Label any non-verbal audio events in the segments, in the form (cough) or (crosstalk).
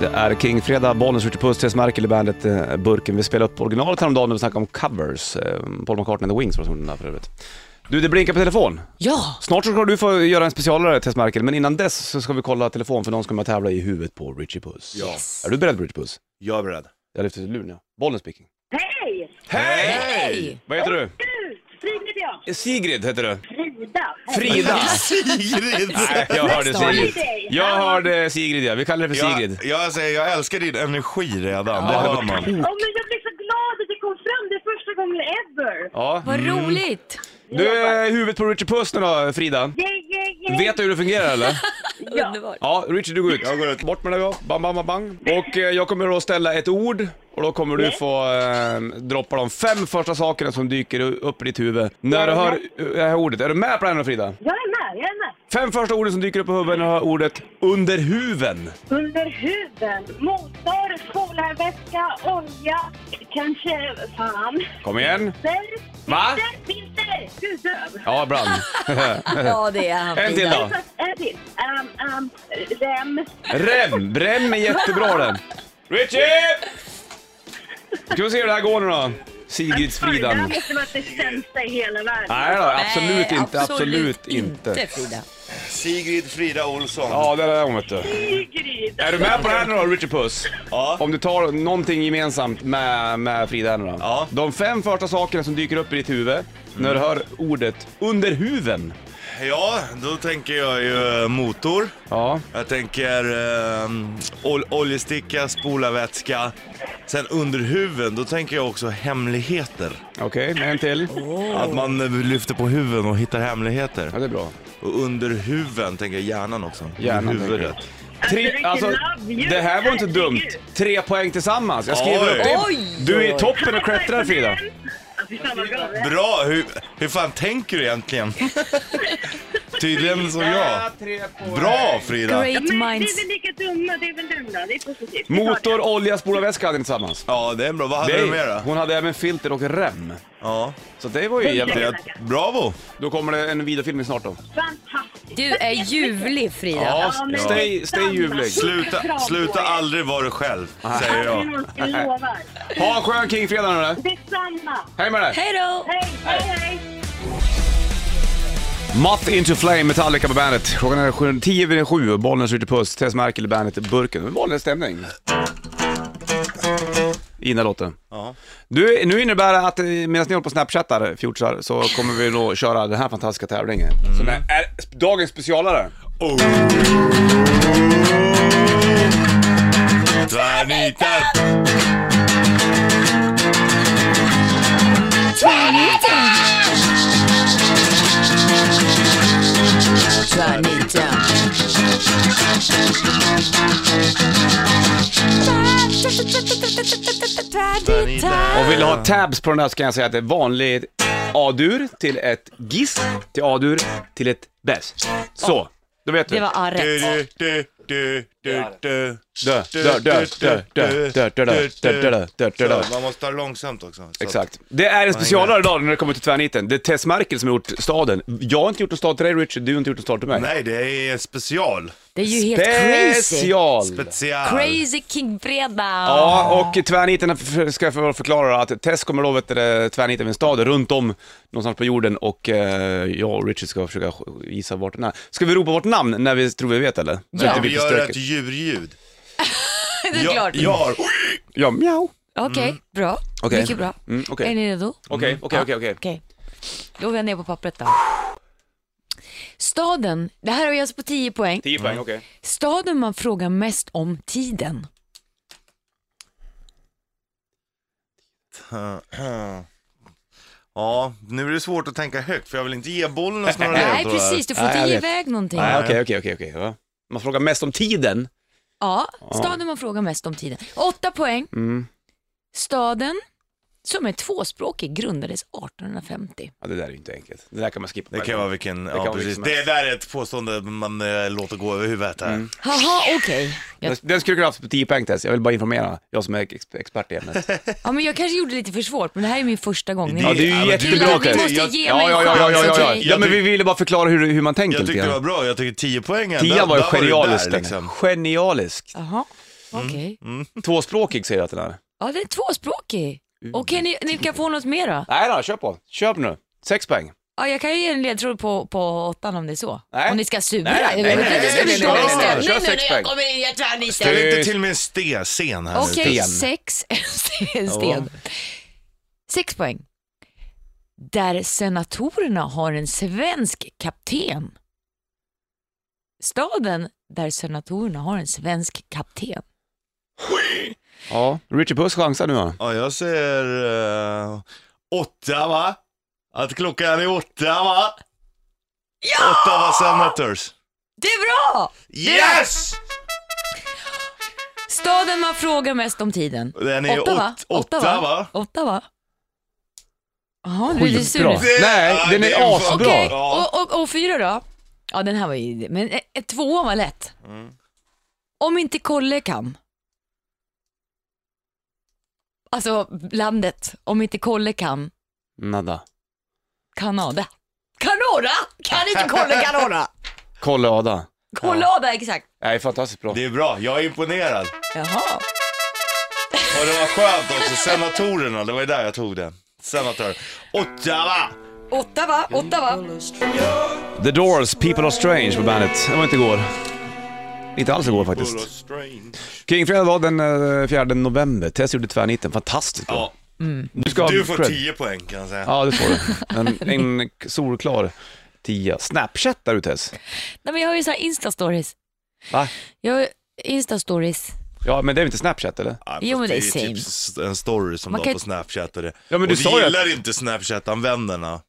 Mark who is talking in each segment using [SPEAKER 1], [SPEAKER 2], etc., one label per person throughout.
[SPEAKER 1] Det är Kingfredag, Bollnäs, Ritchie Puss, Therese Merkel i bandet eh, Burken. Vi spelade upp originalet häromdagen när vi snackade om covers. Eh, Paul McCartney and the Wings var som gjorde den där för övrigt. Du, det blinkar på telefon.
[SPEAKER 2] Ja!
[SPEAKER 1] Snart så ska du få göra en specialare, Tess Merkel, men innan dess så ska vi kolla telefon för någon ska med och tävla i huvudet på Richie Puss.
[SPEAKER 3] Ja.
[SPEAKER 2] Yes.
[SPEAKER 1] Är du beredd Richie Puss?
[SPEAKER 3] Jag är beredd.
[SPEAKER 1] Jag lyfter luren ja. Bollnäs speaking.
[SPEAKER 4] Hej!
[SPEAKER 2] Hej!
[SPEAKER 1] Vad heter du?
[SPEAKER 4] Du! Frida heter jag.
[SPEAKER 1] Eh, Sigrid heter du.
[SPEAKER 4] Frida.
[SPEAKER 1] Frida!
[SPEAKER 3] Sigrid!
[SPEAKER 1] Nej, jag hörde
[SPEAKER 2] Nästa
[SPEAKER 1] Sigrid.
[SPEAKER 4] dig.
[SPEAKER 1] Jag hörde Sigrid ja, vi kallar det för Sigrid.
[SPEAKER 3] Jag, jag säger, jag älskar din energi redan. Det hör man.
[SPEAKER 4] Åh, men jag blev så glad att det kom fram. Det är första gången ever.
[SPEAKER 1] Ja.
[SPEAKER 2] Vad roligt!
[SPEAKER 1] Du, eh, huvudet på Richie Puss nu då Frida.
[SPEAKER 4] Yeah, yeah, yeah.
[SPEAKER 1] Vet du hur det fungerar eller?
[SPEAKER 2] Underbart.
[SPEAKER 1] Ja, Richard du går ut. Jag går ut. Bort med det då. Bam, bam, bam, bang. Och eh, jag kommer då ställa ett ord och då kommer du få eh, droppa de fem första sakerna som dyker upp i ditt huvud när du hör eh, det här ordet. Är du med på det här nu Frida?
[SPEAKER 4] Jag är med, jag är med.
[SPEAKER 1] Fem första orden som dyker upp i huvudet när du hör ordet under huven.
[SPEAKER 4] Under huven, motor, skolarbetska, olja, kanske, fan.
[SPEAKER 1] Kom igen.
[SPEAKER 4] Vinter,
[SPEAKER 1] Va?
[SPEAKER 4] vinter, vinter, gudöv.
[SPEAKER 1] Ja, brand.
[SPEAKER 2] Ja, det är han.
[SPEAKER 1] En till då.
[SPEAKER 4] En till. Um, um, rem,
[SPEAKER 1] Rem. Rem är jättebra den. Richard! Ska vi se hur det här går nu då. Sigrids
[SPEAKER 4] Det här
[SPEAKER 1] Fridan.
[SPEAKER 4] måste vara det sämsta i hela världen.
[SPEAKER 1] Nej då, absolut
[SPEAKER 2] Nej,
[SPEAKER 1] inte. Absolut inte.
[SPEAKER 2] inte Frida.
[SPEAKER 3] Sigrid Frida Olsson.
[SPEAKER 1] Ja, det är hon vet du.
[SPEAKER 4] Sigrid.
[SPEAKER 1] Är du med på det här nu då, Richard Puss?
[SPEAKER 3] Ja.
[SPEAKER 1] Om du tar någonting gemensamt med, med Frida här nu då.
[SPEAKER 3] Ja.
[SPEAKER 1] De fem första sakerna som dyker upp i ditt huvud när du hör ordet under huven.
[SPEAKER 3] ja, då tänker jag ju eh, motor.
[SPEAKER 1] Ja.
[SPEAKER 3] Jag tänker eh, ol- oljesticka, spolarvätska. Sen under huven, då tänker jag också hemligheter.
[SPEAKER 1] Okej, en till.
[SPEAKER 3] Att man eh, lyfter på huven och hittar hemligheter.
[SPEAKER 1] Ja, det är bra.
[SPEAKER 3] Och under huven tänker jag hjärnan också.
[SPEAKER 1] Hjärnan,
[SPEAKER 3] Huvudet.
[SPEAKER 1] Tre, alltså, det här var inte dumt. Tre poäng tillsammans. Jag skriver
[SPEAKER 3] Oj.
[SPEAKER 1] upp det.
[SPEAKER 2] Oj.
[SPEAKER 1] Du är i toppen och klättrar Frida.
[SPEAKER 4] Ja, fy fan vad bra.
[SPEAKER 3] Bra! Hur, hur fan tänker du egentligen? Tydligen som jag. Bra Frida!
[SPEAKER 2] Great
[SPEAKER 4] Men vi är
[SPEAKER 2] minds.
[SPEAKER 4] väl lika dumma, det är väl den då. Det är positivt. Det är klart.
[SPEAKER 1] Motor, olja, spolarväska hade ni tillsammans.
[SPEAKER 3] Ja, det är bra. Vad hade
[SPEAKER 1] Det-
[SPEAKER 3] du med då?
[SPEAKER 1] Hon hade även filter och rem.
[SPEAKER 3] Ja,
[SPEAKER 1] Så det var ju jävligt.
[SPEAKER 3] det, bravo!
[SPEAKER 1] Då kommer det en videofilm snart då.
[SPEAKER 4] Fantastiskt.
[SPEAKER 2] Du är ljuvlig Frida.
[SPEAKER 1] Ja,
[SPEAKER 4] men
[SPEAKER 1] stay, stay
[SPEAKER 4] detsamma.
[SPEAKER 1] ljuvlig.
[SPEAKER 3] Sluta, sluta aldrig vara dig själv, säger
[SPEAKER 4] Aldrig
[SPEAKER 3] jag.
[SPEAKER 4] någonsin lovar.
[SPEAKER 1] Ha en skön Kingfredag nu då.
[SPEAKER 4] Detsamma.
[SPEAKER 1] Hej med dig!
[SPEAKER 2] Hej då!
[SPEAKER 4] Hej, hej, hej.
[SPEAKER 1] Moth into Flame, Metallica på bandet. Klockan är sju- tio vid sju. Bollnäs skjuter puss, Tess Merkel i bandet Burken. Det var Bollnäs stämning. Ina låten.
[SPEAKER 3] Ja.
[SPEAKER 1] Du, nu innebär det att eh, medan ni håller på och snapchattar, fjortisar, så kommer vi då köra den här fantastiska tävlingen. Som är, är dagens specialare.
[SPEAKER 3] Oh. Tvärnitat!
[SPEAKER 2] Tvärniten.
[SPEAKER 1] Och vill du ha tabs på den där så kan jag säga att det är vanlig A-dur till ett giss, till A-dur till ett bäs. Så, då vet du.
[SPEAKER 2] Det var A
[SPEAKER 3] Du,
[SPEAKER 2] rätt.
[SPEAKER 3] du, du, du, du, du.
[SPEAKER 1] Dö, dö, dö, dö, dö, dö, dö, dö, dö, dö, dö, dö, dö.
[SPEAKER 3] Så, Man måste ta långsamt också. Så att-
[SPEAKER 1] Exakt. Det är en specialare idag när det kommer till tvärniten. Det är Tess Merkel som har gjort staden. Jag har inte gjort en stad till dig Richard, du har inte gjort en stad till mig.
[SPEAKER 3] Nej, det är special.
[SPEAKER 2] Det är ju helt crazy.
[SPEAKER 1] Special!
[SPEAKER 3] Special.
[SPEAKER 2] Crazy King Fredag.
[SPEAKER 1] Ja, och tvärniten för- ska jag för- förklara att Tess kommer då vet du, det, tvärnita med en stad runt om någonstans på jorden och eh, jag och Richard ska försöka gissa vart den är. Ska vi ropa vårt namn när vi tror vi vet eller? Så att det
[SPEAKER 3] Vi
[SPEAKER 1] blir för
[SPEAKER 3] gör ett
[SPEAKER 1] stökigt.
[SPEAKER 3] djurljud.
[SPEAKER 2] (laughs) Det är klart.
[SPEAKER 3] Jag har...
[SPEAKER 1] Ja, mjau.
[SPEAKER 2] Okej, bra.
[SPEAKER 1] Mm. Okej.
[SPEAKER 2] Mycket bra.
[SPEAKER 1] Mm,
[SPEAKER 2] Är
[SPEAKER 1] Okej,
[SPEAKER 2] ni redo?
[SPEAKER 1] okej, okej, okej, okej.
[SPEAKER 2] Okej, då går jag ner på pappret då. Staden, det här har jag alltså på 10 poäng.
[SPEAKER 1] 10 poäng, okej.
[SPEAKER 2] Staden man frågar mest om tiden.
[SPEAKER 3] (clears throat) Ja, nu är det svårt att tänka högt för jag vill inte ge bollen och snurra
[SPEAKER 2] Nej,
[SPEAKER 3] runt och-
[SPEAKER 2] precis, du får
[SPEAKER 1] Nej,
[SPEAKER 2] inte
[SPEAKER 1] jag
[SPEAKER 2] ge
[SPEAKER 1] vet.
[SPEAKER 2] iväg någonting.
[SPEAKER 1] Nej, Okej, okej, okej, okej. va? Man frågar mest om tiden.
[SPEAKER 2] Ja, staden man frågar mest om tiden. 8 poäng.
[SPEAKER 1] Mm.
[SPEAKER 2] Staden som är tvåspråkig grundades 1850.
[SPEAKER 1] Ja, det där är ju inte enkelt. Det där kan man skippa.
[SPEAKER 3] Det kan vara vilken,
[SPEAKER 1] kan liksom-
[SPEAKER 3] ja
[SPEAKER 1] vara
[SPEAKER 3] precis.
[SPEAKER 1] vilken
[SPEAKER 3] Det där är ett påstående man eh, låter gå över huvudet här.
[SPEAKER 1] Mm.
[SPEAKER 2] Haha, okej. Jag,
[SPEAKER 1] Den- Den skulle kunna haft på 10 poäng Tess, jag vill bara informera, jag som är ex- expert i
[SPEAKER 3] (laughs)
[SPEAKER 1] ämnet.
[SPEAKER 2] ja, men jag kanske gjorde det lite för svårt, men det här är min första gång.
[SPEAKER 3] Ja,
[SPEAKER 1] det är ju
[SPEAKER 3] men du-
[SPEAKER 1] jättebra,
[SPEAKER 2] Vi måste
[SPEAKER 3] Jag-
[SPEAKER 2] ge mig
[SPEAKER 1] Ja,
[SPEAKER 2] en
[SPEAKER 1] ja, ja,
[SPEAKER 2] chans.
[SPEAKER 1] ja, ja, ja.
[SPEAKER 2] okej?
[SPEAKER 1] ja men vi ville bara förklara hur, hur man tänker
[SPEAKER 3] Jag
[SPEAKER 1] lite
[SPEAKER 3] tyckte det var
[SPEAKER 1] grann.
[SPEAKER 3] bra, jag tycker 10 poängen.
[SPEAKER 1] Tia
[SPEAKER 3] där- liksom.
[SPEAKER 1] var ju
[SPEAKER 3] där du
[SPEAKER 1] genialisk
[SPEAKER 3] där,
[SPEAKER 1] den.
[SPEAKER 3] liksom.
[SPEAKER 1] Genialisk.
[SPEAKER 2] Jaha. Okej.
[SPEAKER 1] Tvåspråkig säger jag att den är.
[SPEAKER 2] Ja, den är tvåspråkig.
[SPEAKER 1] Mm.
[SPEAKER 2] Okej, ni, ni kan få något mer då.
[SPEAKER 1] Nej då, kör på. Köp nu. Sex poäng.
[SPEAKER 2] Ja, jag kan ju ge en ledtråd på, på åttan om det är så.
[SPEAKER 1] Nej.
[SPEAKER 2] Om ni ska sura.
[SPEAKER 1] Nej,
[SPEAKER 2] jag
[SPEAKER 1] nej,
[SPEAKER 2] vet inte
[SPEAKER 1] nej,
[SPEAKER 2] om det ska
[SPEAKER 1] nej,
[SPEAKER 2] bli
[SPEAKER 1] nej, nej,
[SPEAKER 2] dålig
[SPEAKER 1] nej, nej.
[SPEAKER 2] stämning
[SPEAKER 1] Kör
[SPEAKER 2] nu
[SPEAKER 1] sex
[SPEAKER 2] när
[SPEAKER 1] poäng.
[SPEAKER 2] jag kommer in. Jag tror ni
[SPEAKER 3] Ställ
[SPEAKER 2] ställer.
[SPEAKER 3] inte
[SPEAKER 1] Tyst.
[SPEAKER 3] till med en sten här nu.
[SPEAKER 2] Okej,
[SPEAKER 1] sten.
[SPEAKER 2] sex. (laughs) en sten. Sex poäng. Där senatorerna har en svensk kapten. Staden där senatorerna har en svensk kapten.
[SPEAKER 1] Ja. Richard Puss chansar nu va?
[SPEAKER 3] Ja, jag säger eh, åtta va? Att klockan är åtta va? Ja! Ottawa Senators.
[SPEAKER 2] Det är bra!
[SPEAKER 3] Yes!
[SPEAKER 2] Staden man frågar mest om tiden.
[SPEAKER 3] Den är
[SPEAKER 2] Ottawa?
[SPEAKER 3] åt, åtta va?
[SPEAKER 2] Ottawa? Jaha, nu blir det sur.
[SPEAKER 1] Skitbra. Nej,
[SPEAKER 3] Ja,
[SPEAKER 1] den
[SPEAKER 3] det
[SPEAKER 1] är
[SPEAKER 3] är
[SPEAKER 1] asbra.
[SPEAKER 2] Okej,
[SPEAKER 3] Ja.
[SPEAKER 2] och, och, och fyra då? Ja, den här var ju... Men eh, eh, tvåan var lätt.
[SPEAKER 3] Mm.
[SPEAKER 2] Om inte Kolle kan. Alltså, landet. Om inte Kolle kan.
[SPEAKER 1] Nada.
[SPEAKER 2] Kanada. Kanada! Kan inte Kolle Kanada?
[SPEAKER 3] (laughs)
[SPEAKER 1] Kollada.
[SPEAKER 2] Kollada, exakt.
[SPEAKER 1] Nej, fantastiskt bra.
[SPEAKER 3] Det är bra, jag är imponerad.
[SPEAKER 2] Jaha.
[SPEAKER 3] Och det var skönt också, senatorerna, det var ju där jag tog det. Senator. Ottawa!
[SPEAKER 2] Åtta va? Åtta va?
[SPEAKER 1] The Doors, People Are Strange på bandet. Det var inte igår. Inte alls igår faktiskt. Kingfredag var den eh, 4 november. Tess gjorde tvärniten, fantastiskt bra.
[SPEAKER 3] Ja,
[SPEAKER 1] Du, ska ha
[SPEAKER 3] du får
[SPEAKER 1] cred.
[SPEAKER 3] 10 poäng kan jag säga.
[SPEAKER 1] Ja, det får
[SPEAKER 3] (laughs)
[SPEAKER 1] du. En, en solklar tia. Snapchattar du Tess?
[SPEAKER 2] Nej, men jag har ju så här Insta-stories.
[SPEAKER 1] Va?
[SPEAKER 2] Jag har Insta-stories.
[SPEAKER 1] Ja, men det är väl inte Snapchat eller?
[SPEAKER 3] Ja,
[SPEAKER 2] Jo,
[SPEAKER 3] fast
[SPEAKER 2] men det är
[SPEAKER 3] ju
[SPEAKER 2] same.
[SPEAKER 3] typ s- en story som
[SPEAKER 2] Man
[SPEAKER 3] de
[SPEAKER 2] kan-
[SPEAKER 3] på Snapchat och det.
[SPEAKER 1] Ja, men
[SPEAKER 3] och
[SPEAKER 1] du
[SPEAKER 3] det
[SPEAKER 1] sa ju att-
[SPEAKER 3] gillar inte Snapchat-användarna.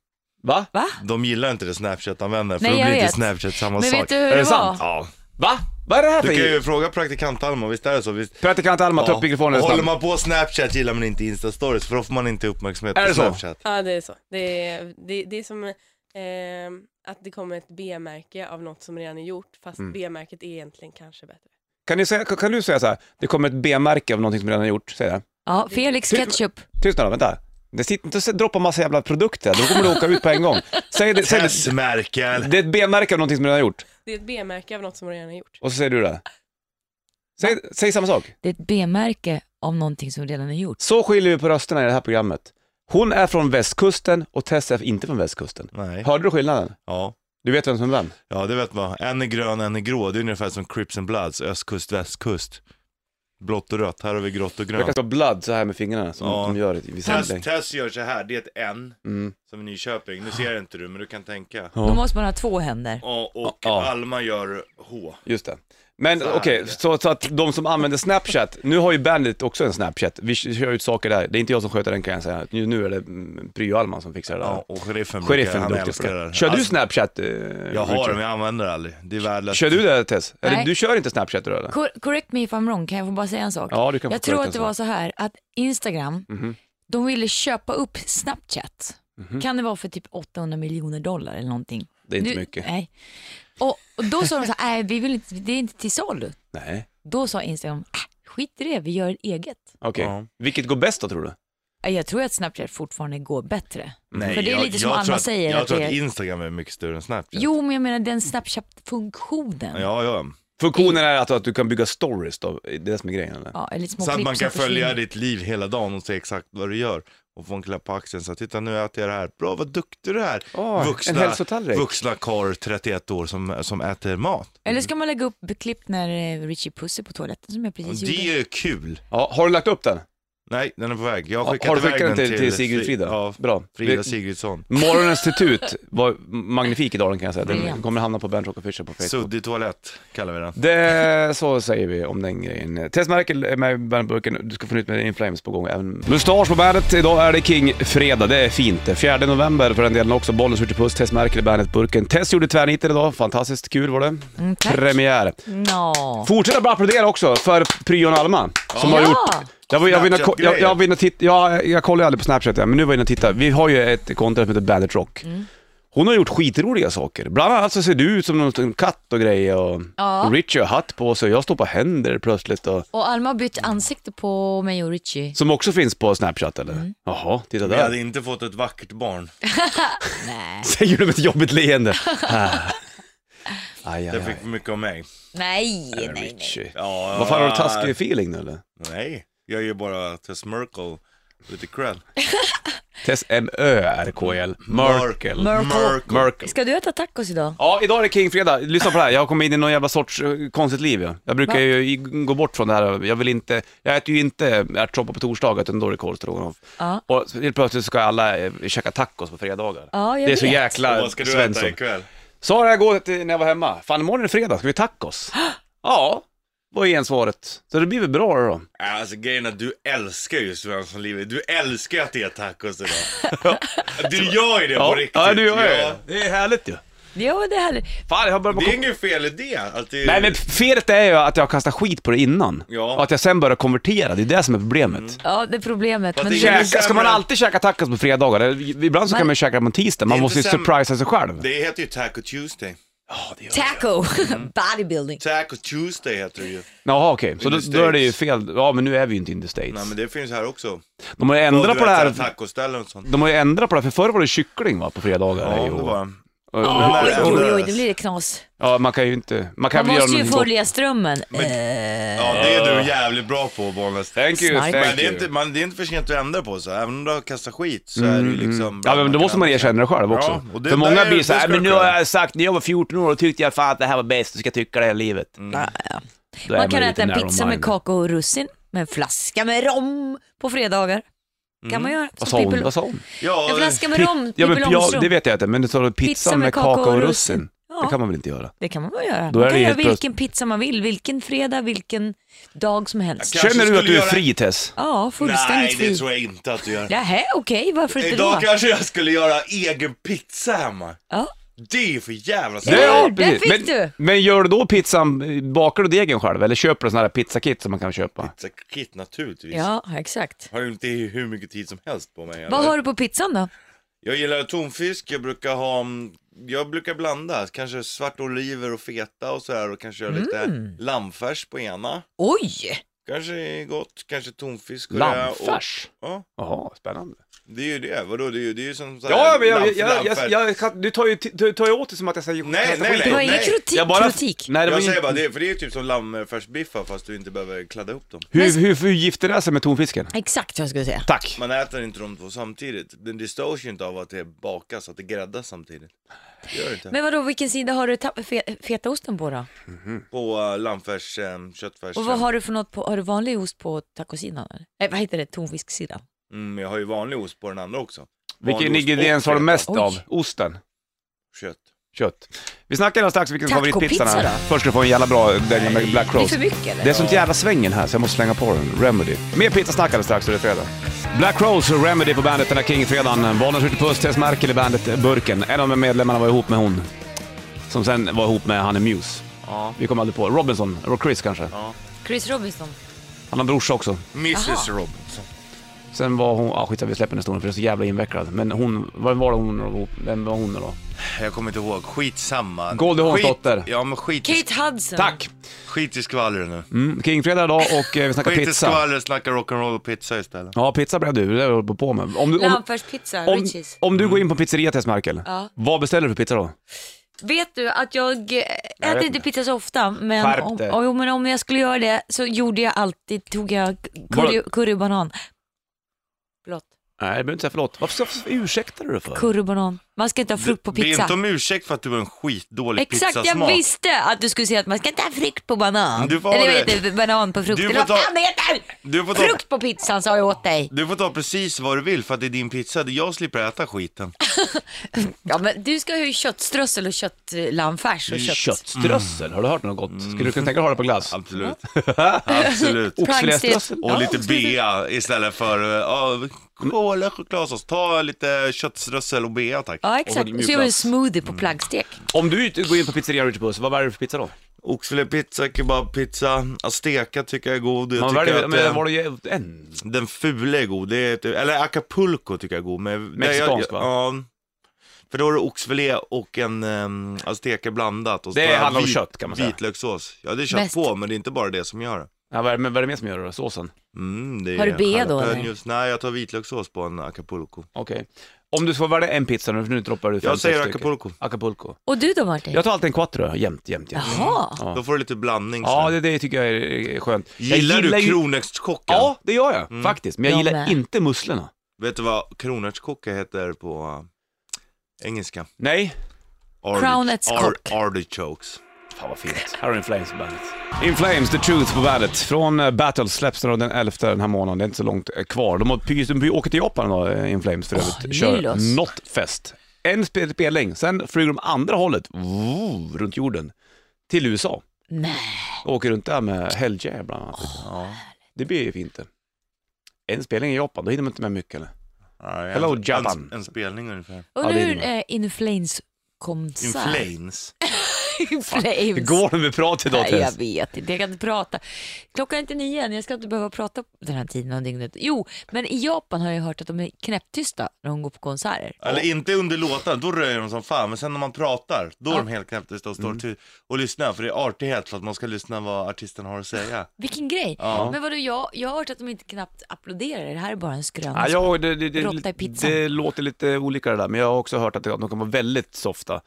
[SPEAKER 1] Va?
[SPEAKER 2] Va?
[SPEAKER 3] De gillar inte det Snapchat-användare för
[SPEAKER 2] Nej,
[SPEAKER 3] då
[SPEAKER 2] jag
[SPEAKER 3] blir inte
[SPEAKER 2] vet.
[SPEAKER 3] Snapchat samma
[SPEAKER 2] Men
[SPEAKER 3] sak.
[SPEAKER 2] vet du hur
[SPEAKER 1] Är
[SPEAKER 2] det
[SPEAKER 1] det sant?
[SPEAKER 2] var?
[SPEAKER 3] Ja.
[SPEAKER 1] Va? Vad är det här
[SPEAKER 3] Du kan
[SPEAKER 1] för
[SPEAKER 3] ju fråga praktikant Alma, visst är det så? Visst...
[SPEAKER 1] Praktikant Alma, ta upp mikrofonen
[SPEAKER 3] Håller
[SPEAKER 1] snabbt.
[SPEAKER 3] man på Snapchat gillar man inte Insta-stories för då får man inte uppmärksamhet
[SPEAKER 1] Är
[SPEAKER 3] på
[SPEAKER 1] det så?
[SPEAKER 3] Snapchat.
[SPEAKER 5] Ja, det är så. Det är, det, det är som ehm, att det kommer ett B-märke av något som redan är gjort, fast B-märket är egentligen kanske bättre.
[SPEAKER 1] Kan, ni säga, kan du säga så här, det kommer ett B-märke av någonting som redan är gjort, säg det.
[SPEAKER 2] Ja, Felix Ketchup.
[SPEAKER 1] Tyst nu då, vänta. Det sitter inte och droppar massa jävla produkter, då kommer du åka ut på en gång. Säg det, säg det.
[SPEAKER 3] Tessmerkel!
[SPEAKER 1] Det är ett B-märke av någonting som redan är gjort,
[SPEAKER 5] Det är ett B-märke av något som redan är gjort.
[SPEAKER 1] och så säger du det. Säg, säg samma sak.
[SPEAKER 2] Det är ett B-märke av någonting som redan är gjort.
[SPEAKER 1] Så skiljer vi på rösterna i det här programmet. Hon är från västkusten och Tess är inte från västkusten.
[SPEAKER 3] Nej.
[SPEAKER 1] Hörde du skillnaden?
[SPEAKER 3] Ja.
[SPEAKER 1] Du vet vem som är vem?
[SPEAKER 3] ja, det vet man. En är grön, en är grå. Det är ungefär som Crips and Bloods, östkust, västkust. Blått och rött, här har vi grått och
[SPEAKER 1] Det
[SPEAKER 3] grönt.
[SPEAKER 1] kan stå blöd så här med fingrarna som
[SPEAKER 3] Ja.
[SPEAKER 1] de gör i vissa
[SPEAKER 3] Tess,
[SPEAKER 1] inlägg.
[SPEAKER 3] Tess gör så här, det är ett N,
[SPEAKER 1] Mm.
[SPEAKER 3] som i Nyköping. Nu ser inte du, men du kan tänka.
[SPEAKER 2] Då
[SPEAKER 1] Ja,
[SPEAKER 2] måste man ha två händer.
[SPEAKER 3] Ja, och
[SPEAKER 1] Ja.
[SPEAKER 3] Alma gör H.
[SPEAKER 1] just det. Men
[SPEAKER 3] Så här
[SPEAKER 1] okej,
[SPEAKER 3] är det.
[SPEAKER 1] så, så att de som använder Snapchat, nu har ju Bandit också en Snapchat, vi kör ut saker där. Det är inte jag som sköter den kan jag säga, nu, nu är det mm, Pryo-Alman som fixar det där.
[SPEAKER 3] Ja, och sheriffen, brukar-
[SPEAKER 1] Sheriffen är
[SPEAKER 3] han
[SPEAKER 1] duktig på
[SPEAKER 3] älskar
[SPEAKER 1] det.
[SPEAKER 3] det.
[SPEAKER 1] Kör du
[SPEAKER 3] Alltså,
[SPEAKER 1] Snapchat? eh,
[SPEAKER 3] Jag har
[SPEAKER 1] Richard?
[SPEAKER 3] den, men jag använder det aldrig. Det är värdelöst.
[SPEAKER 1] Kör du det Tess? Eller
[SPEAKER 2] Nej.
[SPEAKER 1] du kör inte Snapchat då eller?
[SPEAKER 2] Cor- correct me if I'm wrong, kan jag få bara säga en sak?
[SPEAKER 1] Ja, du kan få Mhm.
[SPEAKER 2] jag tror
[SPEAKER 1] correct
[SPEAKER 2] att det
[SPEAKER 1] en
[SPEAKER 2] var så här att Instagram, de ville köpa upp Snapchat. Kan det vara för typ 800 miljoner dollar eller någonting?
[SPEAKER 1] Mhm. Det är inte
[SPEAKER 2] Nu-
[SPEAKER 1] mycket.
[SPEAKER 2] Nej. Och, och då sa de så här, nej vi vill inte, det är inte till salu.
[SPEAKER 1] Nej.
[SPEAKER 2] Då sa Instagram, äh, skit i det, vi gör ett eget.
[SPEAKER 1] Okej.
[SPEAKER 3] Ja.
[SPEAKER 1] Vilket går bäst då tror du?
[SPEAKER 2] Äh, Jag tror att Snapchat fortfarande går
[SPEAKER 1] Mm,
[SPEAKER 2] bättre.
[SPEAKER 3] Nej,
[SPEAKER 2] För det är lite som
[SPEAKER 3] jag
[SPEAKER 2] Alma
[SPEAKER 3] tror att,
[SPEAKER 2] säger,
[SPEAKER 3] Jag
[SPEAKER 2] att
[SPEAKER 3] tror
[SPEAKER 2] det
[SPEAKER 3] att
[SPEAKER 2] är-
[SPEAKER 3] Instagram är mycket större än Snapchat.
[SPEAKER 2] Jo, men jag menar den Snapchat-funktionen.
[SPEAKER 3] Ja, ja.
[SPEAKER 1] Funktionen är att, att du kan bygga stories då, det är det som är grejen eller?
[SPEAKER 2] Ja, eller små
[SPEAKER 3] Så att
[SPEAKER 2] klipp
[SPEAKER 3] man
[SPEAKER 2] som
[SPEAKER 3] kan följa
[SPEAKER 2] försvinner.
[SPEAKER 3] ditt liv hela dagen och se exakt vad du gör. Och få en klapp på axeln. Så här, titta nu äter jag det här. Bra, vad duktig du är.
[SPEAKER 1] Åh, en hälsotallrik.
[SPEAKER 3] vuxna karl, 31 år, som, som äter mat. Mm.
[SPEAKER 2] Eller ska man lägga upp klipp när eh, Richie Puss är på toaletten som jag precis gjorde?
[SPEAKER 3] Det är kul.
[SPEAKER 1] Ja, har du lagt upp den?
[SPEAKER 3] Nej, den är på väg. Jag har
[SPEAKER 1] Ja,
[SPEAKER 3] skickat
[SPEAKER 1] har du
[SPEAKER 3] iväg
[SPEAKER 1] skickat den till, till
[SPEAKER 3] Fri-
[SPEAKER 1] Sigrid Frida?
[SPEAKER 3] Ja,
[SPEAKER 1] Bra.
[SPEAKER 3] Frida
[SPEAKER 1] Vi-
[SPEAKER 3] Sigridsson.
[SPEAKER 1] Morgonens tutut var magnifik idag kan jag säga. Den
[SPEAKER 2] Brilliant.
[SPEAKER 1] kommer hamna på Bernt och Fischer på Facebook.
[SPEAKER 3] Suddig toalett kallar vi den.
[SPEAKER 1] Det, så säger vi om den grejen. Tess Merkel är med i bandburken. Du ska få nytt med In Flames på gång även. Mustasch på bandet. Idag är det King-fredag. Det är fint. 4 november för den delen också. Bollen skjuter puss. Tess Merkel i bandetburken. Tess gjorde tvärniten idag. Fantastiskt kul var det.
[SPEAKER 2] Mm, tack.
[SPEAKER 1] Premiär.
[SPEAKER 2] Nå.
[SPEAKER 1] Fortsätt att bara applådera också för Pryon Alma som har
[SPEAKER 2] Ja.
[SPEAKER 1] gjort... Jag var, jag, var inne och ko- jag, jag, var inne och titt, jag, jag kollar ju aldrig på Snapchat ja, men nu var jag inne och tittade. Vi har ju ett konto som heter Bandit Rock.
[SPEAKER 2] Mm.
[SPEAKER 1] Hon har gjort skitroliga saker. Bland annat så ser du ut som någon sån katt och grejer och
[SPEAKER 2] Ja.
[SPEAKER 1] Richie har hatt på sig och jag står på händer plötsligt. Och,
[SPEAKER 2] Och Alma har bytt ansikte på mig och Richie.
[SPEAKER 1] som också finns på Snapchat eller?
[SPEAKER 2] Mm.
[SPEAKER 1] Jaha, titta
[SPEAKER 3] Vi
[SPEAKER 1] (laughs)
[SPEAKER 3] hade
[SPEAKER 1] där.
[SPEAKER 3] inte fått ett vackert barn.
[SPEAKER 2] Nej. (laughs)
[SPEAKER 1] Säger du med ett jobbigt leende. Ah. Aj, aj, aj.
[SPEAKER 3] Det fick mycket av mig.
[SPEAKER 2] Nej, nej, nej.
[SPEAKER 1] Richie.
[SPEAKER 3] Ja,
[SPEAKER 1] Vad fan, har du taskig feeling nu eller?
[SPEAKER 3] Nej, jag ger bara Tess Merkel lite cred.
[SPEAKER 1] Tess M-Ö-R-K-L. Merkel.
[SPEAKER 2] Merkel.
[SPEAKER 1] Merkel.
[SPEAKER 2] Ska du äta tacos idag?
[SPEAKER 1] Ja, idag är det King-fredag. Lyssna på det här, jag har kommit in i någon jävla sorts eh, konstigt liv. Jag, jag brukar ju i- gå bort från det här, jag vill inte, jag äter ju inte ärtsoppa på torsdagar utan då är det korvstroganoff.
[SPEAKER 2] Ja.
[SPEAKER 1] Och så helt plötsligt ska alla eh, käka tacos på fredagar.
[SPEAKER 2] Ja, jag
[SPEAKER 1] det är så
[SPEAKER 2] vet.
[SPEAKER 1] jäkla
[SPEAKER 3] Vad ska du äta
[SPEAKER 1] Svensson.
[SPEAKER 3] ikväll?
[SPEAKER 1] Sa jag igår till- när jag var hemma, fan imorgon är det fredag, ska vi
[SPEAKER 2] (gasps)
[SPEAKER 1] tacos? ja, var igen svaret. Så det blir väl bra då.
[SPEAKER 3] Alltså grejen är att du älskar ju Svenssonlivet. Du älskar ju att det är tacos idag.
[SPEAKER 1] (laughs)
[SPEAKER 3] du gör ju det på
[SPEAKER 1] Ja,
[SPEAKER 3] riktigt.
[SPEAKER 1] ja, du gör
[SPEAKER 3] Ja.
[SPEAKER 1] det. Det är härligt ju.
[SPEAKER 2] Ja, det här.
[SPEAKER 1] Fan, jag har börjat
[SPEAKER 3] Det är
[SPEAKER 1] med
[SPEAKER 3] inget fel i det. Att det
[SPEAKER 1] Nej men felet är ju att jag kastar skit på det innan.
[SPEAKER 3] Ja. Mm.
[SPEAKER 1] Och att jag sen börjar konvertera, det är det som är problemet.
[SPEAKER 2] Ja, det är problemet. Men
[SPEAKER 3] det är
[SPEAKER 1] Käka,
[SPEAKER 3] ju sämre.
[SPEAKER 1] ska man alltid käka tacos på fredagar? Eller, Ibland så
[SPEAKER 2] Man-
[SPEAKER 1] kan man ju käka på en tisdag, man
[SPEAKER 3] inte
[SPEAKER 1] måste ju
[SPEAKER 3] sämre.
[SPEAKER 1] surprisa sig själv.
[SPEAKER 3] Det heter ju Taco Tuesday.
[SPEAKER 2] taco,
[SPEAKER 1] Mm.
[SPEAKER 2] (laughs) bodybuilding.
[SPEAKER 3] Taco Tuesday heter det ju.
[SPEAKER 1] Jaha okej, så
[SPEAKER 3] In
[SPEAKER 1] då,
[SPEAKER 3] the
[SPEAKER 1] då är det ju
[SPEAKER 3] States.
[SPEAKER 1] fel. Ja men nu är vi ju inte in the States.
[SPEAKER 3] Nej men det finns här också.
[SPEAKER 1] De har ju ändrat på det här.
[SPEAKER 3] Tacoställen och sånt.
[SPEAKER 1] De har ju ändrat på det här, för förr var det kyckling va, på fredagar.
[SPEAKER 3] Ja,
[SPEAKER 1] Jo.
[SPEAKER 3] det var
[SPEAKER 1] Och- och-
[SPEAKER 3] Men när
[SPEAKER 2] Oj,
[SPEAKER 3] det
[SPEAKER 2] oj, oj,
[SPEAKER 3] ändrades-
[SPEAKER 2] det blir det knas.
[SPEAKER 1] Ja, man kan ju inte... Man kan
[SPEAKER 2] Man
[SPEAKER 1] väl göra
[SPEAKER 2] måste ju
[SPEAKER 1] någonting gott.
[SPEAKER 2] följa strömmen. Eh,
[SPEAKER 3] Ja, det är du jävligt bra på, Bollnäs.
[SPEAKER 1] Thank you,
[SPEAKER 2] Snipe.
[SPEAKER 1] thank
[SPEAKER 3] Men
[SPEAKER 1] you.
[SPEAKER 3] det är, inte, man, det är inte för sent att ändra på sig, även om du har kastat skit så är det ju liksom...
[SPEAKER 1] Mm. Ja men då måste man erkänna det själv också.
[SPEAKER 3] Ja, och det-
[SPEAKER 1] För många
[SPEAKER 3] där-
[SPEAKER 1] blir så
[SPEAKER 3] där
[SPEAKER 1] här,
[SPEAKER 3] ska
[SPEAKER 1] men
[SPEAKER 3] du
[SPEAKER 1] nu har
[SPEAKER 3] kunna."
[SPEAKER 1] jag sagt, när jag var 14 år och tyckte jag fan att det här var bäst, du ska jag tycka det hela livet.
[SPEAKER 3] Mm.
[SPEAKER 1] Då är
[SPEAKER 2] Eh, Man kan
[SPEAKER 1] lite
[SPEAKER 2] äta en
[SPEAKER 1] narrow
[SPEAKER 2] pizza med
[SPEAKER 1] minded.
[SPEAKER 2] kakao och russin, med en flaska med rom på fredagar. Kan man göra.
[SPEAKER 1] Mm. Vad sa
[SPEAKER 2] som
[SPEAKER 1] hon?
[SPEAKER 2] Pippi-
[SPEAKER 1] Vad sa hon?
[SPEAKER 3] Ja,
[SPEAKER 2] En flaska med
[SPEAKER 1] Pi-
[SPEAKER 2] rom,
[SPEAKER 1] ja, men
[SPEAKER 2] Pippi
[SPEAKER 1] pia-
[SPEAKER 2] Långstrump.
[SPEAKER 1] det vet jag inte, men det står pizza, pizza med kakao och russin.
[SPEAKER 2] Ja.
[SPEAKER 1] Det kan man väl inte göra?
[SPEAKER 2] Det kan man väl göra.
[SPEAKER 1] Då är
[SPEAKER 2] man
[SPEAKER 1] det
[SPEAKER 2] kan göra
[SPEAKER 1] helt
[SPEAKER 2] vilken
[SPEAKER 1] plötsligt-
[SPEAKER 2] pizza man vill, vilken fredag, vilken dag som helst.
[SPEAKER 3] Kanske
[SPEAKER 1] Känner du att
[SPEAKER 3] skulle
[SPEAKER 1] du är
[SPEAKER 3] göra-
[SPEAKER 1] fri Tess?
[SPEAKER 2] Ja,
[SPEAKER 3] Nej,
[SPEAKER 2] fullständigt
[SPEAKER 3] det
[SPEAKER 2] fri.
[SPEAKER 3] tror jag inte att du gör.
[SPEAKER 2] Nähä, okej, varför inte då?
[SPEAKER 3] Idag kanske jag skulle göra egen pizza hemma.
[SPEAKER 2] Ja.
[SPEAKER 3] Det är ju för jävla
[SPEAKER 2] Ja,
[SPEAKER 1] Nej,
[SPEAKER 3] sant.
[SPEAKER 2] där
[SPEAKER 1] precis.
[SPEAKER 2] fick
[SPEAKER 1] men, men gör du då pizzan, bakar du degen själv eller köper du sån här pizzakit som man kan köpa?
[SPEAKER 3] Så Kit naturligtvis.
[SPEAKER 2] Ja, exakt.
[SPEAKER 3] Har ju inte hur mycket tid som helst på mig.
[SPEAKER 2] Vad
[SPEAKER 3] eller?
[SPEAKER 2] har du på pizzan då?
[SPEAKER 3] Jag gillar tonfisk, jag brukar ha, mm, jag brukar blanda, kanske svarta oliver och feta och sådär och kanske göra lite
[SPEAKER 1] Mm.
[SPEAKER 3] lammfärs på ena.
[SPEAKER 2] Oj!
[SPEAKER 3] Kanske är gott, kanske tonfisk och det.
[SPEAKER 1] Lammfärs?
[SPEAKER 3] Och, ja,
[SPEAKER 1] Jaha, spännande.
[SPEAKER 3] det är ju det, vadå det är ju, det är ju som såhär
[SPEAKER 1] Ja, men jag, jag, jag, jag, kan- du tar ju t- du tar ju åt det som att jag säger
[SPEAKER 3] Nej,
[SPEAKER 1] kastar
[SPEAKER 3] nej,
[SPEAKER 1] skit.
[SPEAKER 2] Det var
[SPEAKER 3] nej.
[SPEAKER 2] ingen kritik.
[SPEAKER 1] Jag bara...
[SPEAKER 2] kritik.
[SPEAKER 1] Nej, det var
[SPEAKER 3] jag
[SPEAKER 1] ingen...
[SPEAKER 3] säger bara det, för det är ju typ som lammfärsbiffar fast du inte behöver kladda upp dem.
[SPEAKER 1] Hur, hur, hur gifter det sig med tonfisken?
[SPEAKER 2] Exakt vad jag skulle säga.
[SPEAKER 1] Tack.
[SPEAKER 3] Man äter inte de två samtidigt. Den det störs ju inte av att det bakas, att det gräddas samtidigt. Det gör det inte.
[SPEAKER 2] Men vadå, vilken sida har du tapp- fe- fetaosten på då?
[SPEAKER 3] På uh, lammfärs, um, köttfärs.
[SPEAKER 2] Och vad har du för något på, har du vanlig ost på tacosidan eller? Nej, vad heter det, tonfisksidan?
[SPEAKER 3] Mm, jag har ju vanlig ost på den andra också.
[SPEAKER 1] Vilken
[SPEAKER 3] Vanlig ost
[SPEAKER 1] ingrediens
[SPEAKER 3] och
[SPEAKER 1] har du mest
[SPEAKER 2] Oj.
[SPEAKER 1] av? Osten?
[SPEAKER 3] Kött.
[SPEAKER 1] Kött. Vi snackar alldeles strax vilken
[SPEAKER 2] Taco
[SPEAKER 1] favoritpizzan
[SPEAKER 2] pizza
[SPEAKER 1] är.
[SPEAKER 2] då?
[SPEAKER 1] Först ska du få en jävla bra dänga med Black
[SPEAKER 2] Det är
[SPEAKER 1] Crows.
[SPEAKER 2] för mycket eller?
[SPEAKER 1] Det är sånt jävla svängen här så jag måste slänga på den. Remedy. Mer pizzasnack alldeles strax så det är fredag. Black Rose och Remedy på bandet den här King-fredagen. Bonus ute puss, Tess Merkel i bandet Burken. En av de medlemmarna var ihop med hon som sen var ihop med han i Muse.
[SPEAKER 3] Ja.
[SPEAKER 1] Vi kom aldrig på. Robinson, eller Chris kanske.
[SPEAKER 2] Chris Robinson.
[SPEAKER 1] Han har en brorsa också.
[SPEAKER 3] Mrs Robinson.
[SPEAKER 1] Sen var hon, ah skitsamma vi släpper den historien för den är så jävla invecklad. Men hon, vad var det hon var ihop- Vem var hon då?
[SPEAKER 3] Jag kommer inte ihåg, skitsamma.
[SPEAKER 1] Goldie Hawns
[SPEAKER 3] Skit-
[SPEAKER 1] dotter.
[SPEAKER 3] Ja men skit,
[SPEAKER 2] Kate Hudson.
[SPEAKER 1] Tack!
[SPEAKER 3] skit i skvallret nu.
[SPEAKER 1] Mm, King-fredag idag och eh, vi snackar
[SPEAKER 3] Skit i
[SPEAKER 1] pizza.
[SPEAKER 3] skvallret, snacka rock'n'roll och pizza istället.
[SPEAKER 1] Ja, pizza blev du, det är det jag håller på med. Om du, om,
[SPEAKER 2] Lammfärspizza,
[SPEAKER 1] om,
[SPEAKER 2] Richies.
[SPEAKER 1] om du går
[SPEAKER 3] Mm.
[SPEAKER 1] in på pizzeria Tess Merkel,
[SPEAKER 2] Ja.
[SPEAKER 1] vad beställer du för pizza då?
[SPEAKER 2] Vet du att jag eh,
[SPEAKER 1] vet
[SPEAKER 2] äter
[SPEAKER 1] inte.
[SPEAKER 2] inte pizza så ofta, men
[SPEAKER 1] Skärp
[SPEAKER 2] om,
[SPEAKER 1] dig.
[SPEAKER 2] oh, jo, men om jag skulle göra det så gjorde jag alltid, tog jag curry,
[SPEAKER 1] Bara-
[SPEAKER 2] currybanan. Förlåt,
[SPEAKER 1] Nej, du behöver inte säga förlåt. Varför, varför ursäktar du dig för?
[SPEAKER 2] currybanan. Man ska inte ha frukt på
[SPEAKER 3] Be
[SPEAKER 2] pizza.
[SPEAKER 3] inte om ursäkt för att du har en skitdålig
[SPEAKER 2] Exakt, jag
[SPEAKER 3] pizzasmak.
[SPEAKER 2] visste att du skulle säga att man ska inte ha frukt på banan.
[SPEAKER 3] Du får
[SPEAKER 2] Eller
[SPEAKER 3] ha
[SPEAKER 2] vad
[SPEAKER 3] det.
[SPEAKER 2] heter det, banan på frukt.
[SPEAKER 3] Du
[SPEAKER 2] Eller vad
[SPEAKER 3] får ta-
[SPEAKER 2] fan det heter!
[SPEAKER 3] Du får ta-
[SPEAKER 2] Frukt på pizzan sa jag åt dig.
[SPEAKER 3] Du får ta precis vad du vill för att det är din pizza, det är jag slipper äta skiten.
[SPEAKER 2] Ja, men du ska ju köttströssel och köttlammfärs och kött.
[SPEAKER 1] Köttströssel, har du hört något
[SPEAKER 3] Mm.
[SPEAKER 1] gott? Skulle du kunna tänka dig att ha det på glass?
[SPEAKER 2] (laughs)
[SPEAKER 3] Absolut. Absolut.
[SPEAKER 1] Oxfiléströssel? typ.
[SPEAKER 2] Pranksteak.
[SPEAKER 3] Och lite bea istället för uh, kola, chokladsås. Ta lite köttströssel och bea tack.
[SPEAKER 2] Ja,
[SPEAKER 3] Och Mm.
[SPEAKER 2] exakt.
[SPEAKER 3] mjuk
[SPEAKER 2] Så gör vi en
[SPEAKER 3] glass.
[SPEAKER 2] smoothie på plaggstek.
[SPEAKER 1] Om du inte går in på pizzeria Richard Puss, vad väljer du för pizza då?
[SPEAKER 3] Oxfilépizza, kebabpizza, azteka tycker jag är god. Jag
[SPEAKER 1] Man
[SPEAKER 3] tycker
[SPEAKER 1] väljer,
[SPEAKER 3] att,
[SPEAKER 1] men
[SPEAKER 3] eh,
[SPEAKER 1] var det en?
[SPEAKER 3] Den fula är god, det är typ, eller acapulco tycker jag är god. Men,
[SPEAKER 1] Mexikansk,
[SPEAKER 3] jag,
[SPEAKER 1] va?
[SPEAKER 3] Ja. För då har du oxfilé och en um, azteka blandat. Och så
[SPEAKER 1] Det
[SPEAKER 3] tar jag
[SPEAKER 1] handlar om kött, kan man säga.
[SPEAKER 3] Vitlökssås. Ja det är kött
[SPEAKER 2] Mest.
[SPEAKER 3] på men det är inte bara det som gör det.
[SPEAKER 1] Ja, vad, är det, vad är det mer som gör det då? Såsen?
[SPEAKER 3] Mm, det är
[SPEAKER 2] Har du B då, eller?
[SPEAKER 3] jalapenos. Nej, jag tar vitlökssås på en acapulco.
[SPEAKER 1] Okej. Om du får välja en pizza nu, för nu droppar du fem,
[SPEAKER 3] Jag
[SPEAKER 1] sex
[SPEAKER 3] säger
[SPEAKER 1] stycken.
[SPEAKER 3] acapulco.
[SPEAKER 1] Acapulco.
[SPEAKER 2] Och du då Martin?
[SPEAKER 1] Jag tar alltid en quattro, jämt, jämt, jämt.
[SPEAKER 2] Jaha.
[SPEAKER 1] Ja,
[SPEAKER 3] Då får du lite blandning
[SPEAKER 1] ja
[SPEAKER 3] sen.
[SPEAKER 1] det, det tycker jag är eh, skönt. Jag
[SPEAKER 3] Mm. Gillar du Mm.
[SPEAKER 1] ju-
[SPEAKER 3] kronärtskocka?
[SPEAKER 1] Ja, det gör jag faktiskt. Men jag
[SPEAKER 2] Jag
[SPEAKER 1] gillar
[SPEAKER 2] med.
[SPEAKER 1] inte musslorna.
[SPEAKER 3] Vet du vad kronärtskocka heter på eh, engelska?
[SPEAKER 1] Nej.
[SPEAKER 3] Ardi-
[SPEAKER 2] Kronärtskock.
[SPEAKER 3] ar- Artichokes.
[SPEAKER 1] Fan vad fint. Här har In Flames på bandet. In Flames, The Truth på bandet. Från eh, Battle släpps den då den 11 den här månaden. Det är inte så långt eh, kvar. De har pys- de åker till Japan då, eh, In Flames för
[SPEAKER 2] Åh,
[SPEAKER 1] övrigt.
[SPEAKER 2] Lyllos.
[SPEAKER 1] Kör något fest. En spel- spelning, sen flyger de andra hållet, voo, runt jorden, till USA.
[SPEAKER 2] Nej.
[SPEAKER 1] Och åker runt där med Helljair bland annat. ja. Det blir ju fint det. En spelning i Japan, då hinner man inte med mycket eller?
[SPEAKER 3] Ja,
[SPEAKER 1] Hello,
[SPEAKER 3] en,
[SPEAKER 1] Japan.
[SPEAKER 3] En, en spelning ungefär.
[SPEAKER 2] Undrar
[SPEAKER 1] det är
[SPEAKER 2] hur
[SPEAKER 1] det.
[SPEAKER 2] eh, Inflames konsert...
[SPEAKER 3] In flames.
[SPEAKER 2] (laughs) Inflames.
[SPEAKER 1] Hur går det med prat idag
[SPEAKER 2] Nej, jag
[SPEAKER 1] Tess?
[SPEAKER 2] vet inte, jag kan inte prata. Klockan är inte nio än, jag ska inte behöva prata på den här tiden av dygnet. Jo, men i Japan har jag hört att de är knäpptysta när de går på konserter.
[SPEAKER 3] Eller inte under låtarna, då röjer de som fan. Men sen när man pratar, då är de helt knäpptysta och står
[SPEAKER 1] Mm.
[SPEAKER 3] till och lyssnar. För det är artighet för att man ska lyssna vad artisten har att säga.
[SPEAKER 2] Vilken grej.
[SPEAKER 3] Ja.
[SPEAKER 2] Men vadå, jag, jag har hört att de inte knappt applåderar. Det här är bara en skröna.
[SPEAKER 1] Ja, jag, det, det,
[SPEAKER 2] Råtta i
[SPEAKER 1] det,
[SPEAKER 2] pizzan.
[SPEAKER 1] det låter lite olika det där, men jag har också hört att de kan vara väldigt softa.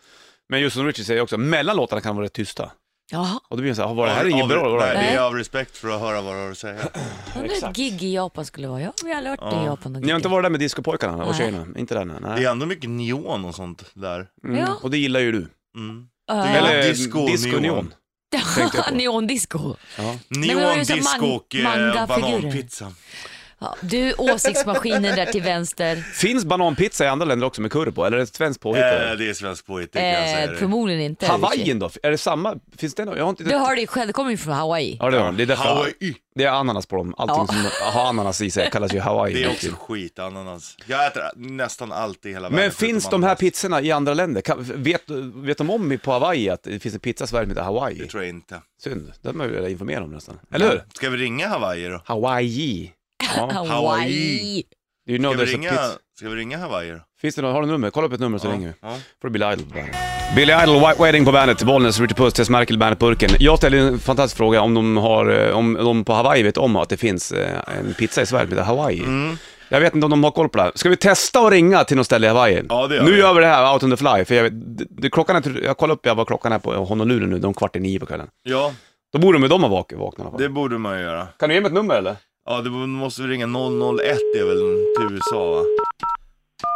[SPEAKER 1] Men just som Richie säger också, mellan låtarna kan de vara rätt tysta.
[SPEAKER 2] Jaha,
[SPEAKER 1] Och då blir det såhär, var det här inget
[SPEAKER 3] Av-
[SPEAKER 1] bra? Var det
[SPEAKER 3] Nej,
[SPEAKER 1] här?
[SPEAKER 3] det
[SPEAKER 2] Nej.
[SPEAKER 3] är av respekt för att höra vad du har att säga.
[SPEAKER 2] undrar hur ett
[SPEAKER 1] Exakt.
[SPEAKER 2] gig i Japan skulle vara. Jag har ju aldrig hört det i Japan. och
[SPEAKER 1] Ni har inte
[SPEAKER 2] gigga.
[SPEAKER 1] varit där med discopojkarna och
[SPEAKER 2] Nej.
[SPEAKER 1] tjejerna? Inte där nej.
[SPEAKER 3] Det
[SPEAKER 1] nej.
[SPEAKER 3] är ändå mycket neon och sånt där.
[SPEAKER 1] Mm.
[SPEAKER 2] Ja.
[SPEAKER 1] Och det gillar ju du.
[SPEAKER 3] Mm.
[SPEAKER 2] Ja.
[SPEAKER 3] Eller-
[SPEAKER 1] Eller
[SPEAKER 3] Disco och
[SPEAKER 1] disco, disco neon.
[SPEAKER 3] neon.
[SPEAKER 1] tänkte jag på.
[SPEAKER 2] (laughs) Neondisco. men det var
[SPEAKER 3] Neon,
[SPEAKER 2] ju så
[SPEAKER 3] disco
[SPEAKER 2] man-
[SPEAKER 3] och eh,
[SPEAKER 2] mangafigurer.
[SPEAKER 3] bananpizza.
[SPEAKER 2] Ja, du, åsiktsmaskinen där
[SPEAKER 1] (laughs)
[SPEAKER 2] till vänster.
[SPEAKER 1] Finns bananpizza i andra länder också med kurr på? Eller är det ett svenskt påhitt?
[SPEAKER 3] Eh,
[SPEAKER 1] eller?
[SPEAKER 3] det är svenskt påhitt, det kan jag säga
[SPEAKER 2] Eh,
[SPEAKER 3] dig.
[SPEAKER 2] förmodligen inte.
[SPEAKER 1] Hawaiian då? Är det samma? Finns det något? Jag har inte...
[SPEAKER 2] Du hör det själv, det kommer ju från Hawaii.
[SPEAKER 1] Ja det har de. Det är därför.
[SPEAKER 3] Hawaii.
[SPEAKER 1] Det är ananas på dem. Allting
[SPEAKER 2] Ja.
[SPEAKER 1] som har ananas i sig kallas ju Hawaii.
[SPEAKER 3] Det är också skit, ananas. Jag äter nästan allt i hela världen.
[SPEAKER 1] Men finns
[SPEAKER 3] förutom
[SPEAKER 1] de här
[SPEAKER 3] ananas.
[SPEAKER 1] pizzorna i andra länder? Kan, vet, vet de om i- på Hawaii att det finns en pizza i Sverige som heter
[SPEAKER 3] Det
[SPEAKER 1] Hawaii?
[SPEAKER 3] tror jag inte.
[SPEAKER 1] Synd, det hade man ju velat informera om nästan. Eller hur?
[SPEAKER 3] Ska vi ringa Hawaii då?
[SPEAKER 1] Hawaii. Ja,
[SPEAKER 2] Hawaii.
[SPEAKER 1] you know
[SPEAKER 3] Ska vi
[SPEAKER 1] there's a pizza.
[SPEAKER 3] ringa, ska vi ringa Hawaii då?
[SPEAKER 1] Finns det någon, har du nummer? Kolla upp ett nummer så ringer vi.
[SPEAKER 3] Ja.
[SPEAKER 1] Får det Billy Idol på bandet. Billy Idol, White Wedding på bandet, Bollnäs, Ritchie Puss, Tess Merkel, Bandet-burken. Jag ställer en fantastisk fråga om de, har, eh, om de på Hawaii vet om att det finns eh, en pizza i Sverige som heter Hawaii.
[SPEAKER 3] Mm.
[SPEAKER 1] Jag vet inte om de har koll på det här. Ska vi testa att ringa till något ställe i Hawaii?
[SPEAKER 3] Ja, det gör
[SPEAKER 1] nu
[SPEAKER 3] vi.
[SPEAKER 1] gör vi det här, out on the fly, för jag, vet, det, det, klockan är, jag kollar upp jag, vad klockan är på Honolulu nu, de är kvart i nio på kvällen.
[SPEAKER 3] ja,
[SPEAKER 1] Då borde de, de ha vak- vaknat i alla fall.
[SPEAKER 3] det borde man ju göra.
[SPEAKER 1] Kan du ge mig ett nummer eller?
[SPEAKER 3] Ja, det borde- måste vi ringa 001, det är väl till USA va?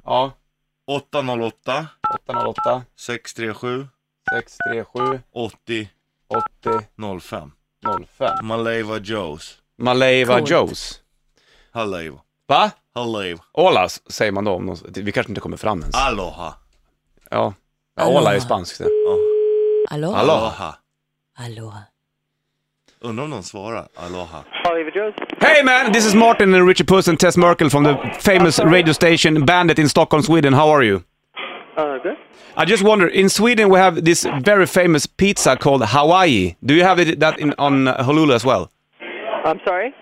[SPEAKER 1] Ja,
[SPEAKER 3] 808
[SPEAKER 1] 808
[SPEAKER 3] 637
[SPEAKER 1] 637
[SPEAKER 3] 80
[SPEAKER 1] 80
[SPEAKER 3] 05.
[SPEAKER 1] 05.
[SPEAKER 3] Maleva Joes.
[SPEAKER 1] Maleva
[SPEAKER 2] Coolt.
[SPEAKER 1] Joes.
[SPEAKER 3] Haleva.
[SPEAKER 1] Va?
[SPEAKER 3] Haleva.
[SPEAKER 1] Ola s- säger man då om någon, vi kanske inte kommer fram ens.
[SPEAKER 3] Aloha.
[SPEAKER 1] Ja. ja
[SPEAKER 2] Aloha.
[SPEAKER 1] Ola är spanskt. det.
[SPEAKER 3] Ja.
[SPEAKER 2] Hallå?
[SPEAKER 1] Hallå?
[SPEAKER 2] Hallå?
[SPEAKER 3] Undrar om de svarar Aloha.
[SPEAKER 6] Oliver Jones.
[SPEAKER 1] Hey man, this is Martin and Richard Puss and Tess Merkel from the famous radio station Bandit in Stockholm, Sweden. How are you?
[SPEAKER 6] Uh, good.
[SPEAKER 1] I just wonder, in Sweden we have this very famous pizza called Hawaii. Do you have it that in, on uh, Honolulu as well?
[SPEAKER 6] I'm sorry.